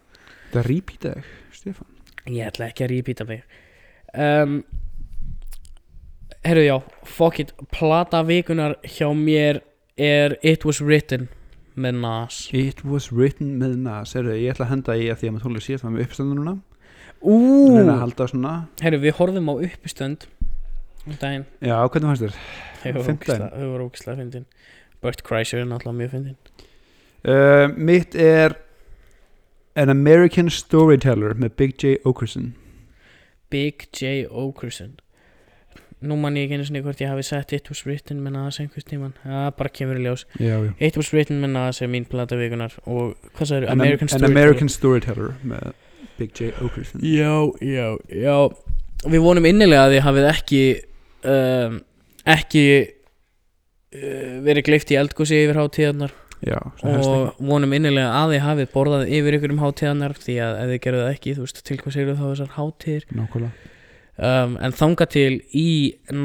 það er repeat egg, Stefan Ég ætla ekki að repeata mig um, Herru já, fuck it Plata vikunar hjá mér er It Was Written með Nas it was written með nas, Heyrðu, ég ætla að henda í að því að maður tónlega sé það með uppstöndu núna Ú, reyna að halda svona, herru við horfum á uppstönd um daginn já, hvernig fannst þér Þau voru Fimmtudaginn? ógeðslega- þau voru ógislega fyndin Bert Kreischer er náttúrulega mjög fyndin uh, mitt er An American Storyteller með Big J. Okerson Big J. Okerson Nú man ég ekki einu sinni hvort ég hafi sett It Was Written með Nas einhvers tíman Það bara kemur í ljós já, já It Was Written með Nas er mín plata vikunar og hvað sagður, An, American American, an Storyteller American Storyteller með Big J. O'Kristen Já, já, já Við vonum innilega að þið hafið ekki um, ekki uh, verið gleift í eldgósi yfir hátíðarnar Já, svona hashtag og vonum innilega að þið hafið borðað yfir ykkur um hátíðarnar því að ef þið gerðu það ekki, þú veist, til hvað segir þá þessar hátíðir Nákvæmlega um, en þanga til í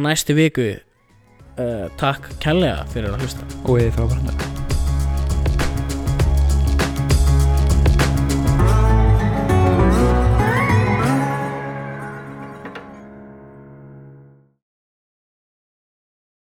næstu viku uh, takk kærlega fyrir að hlusta Og eða það var hann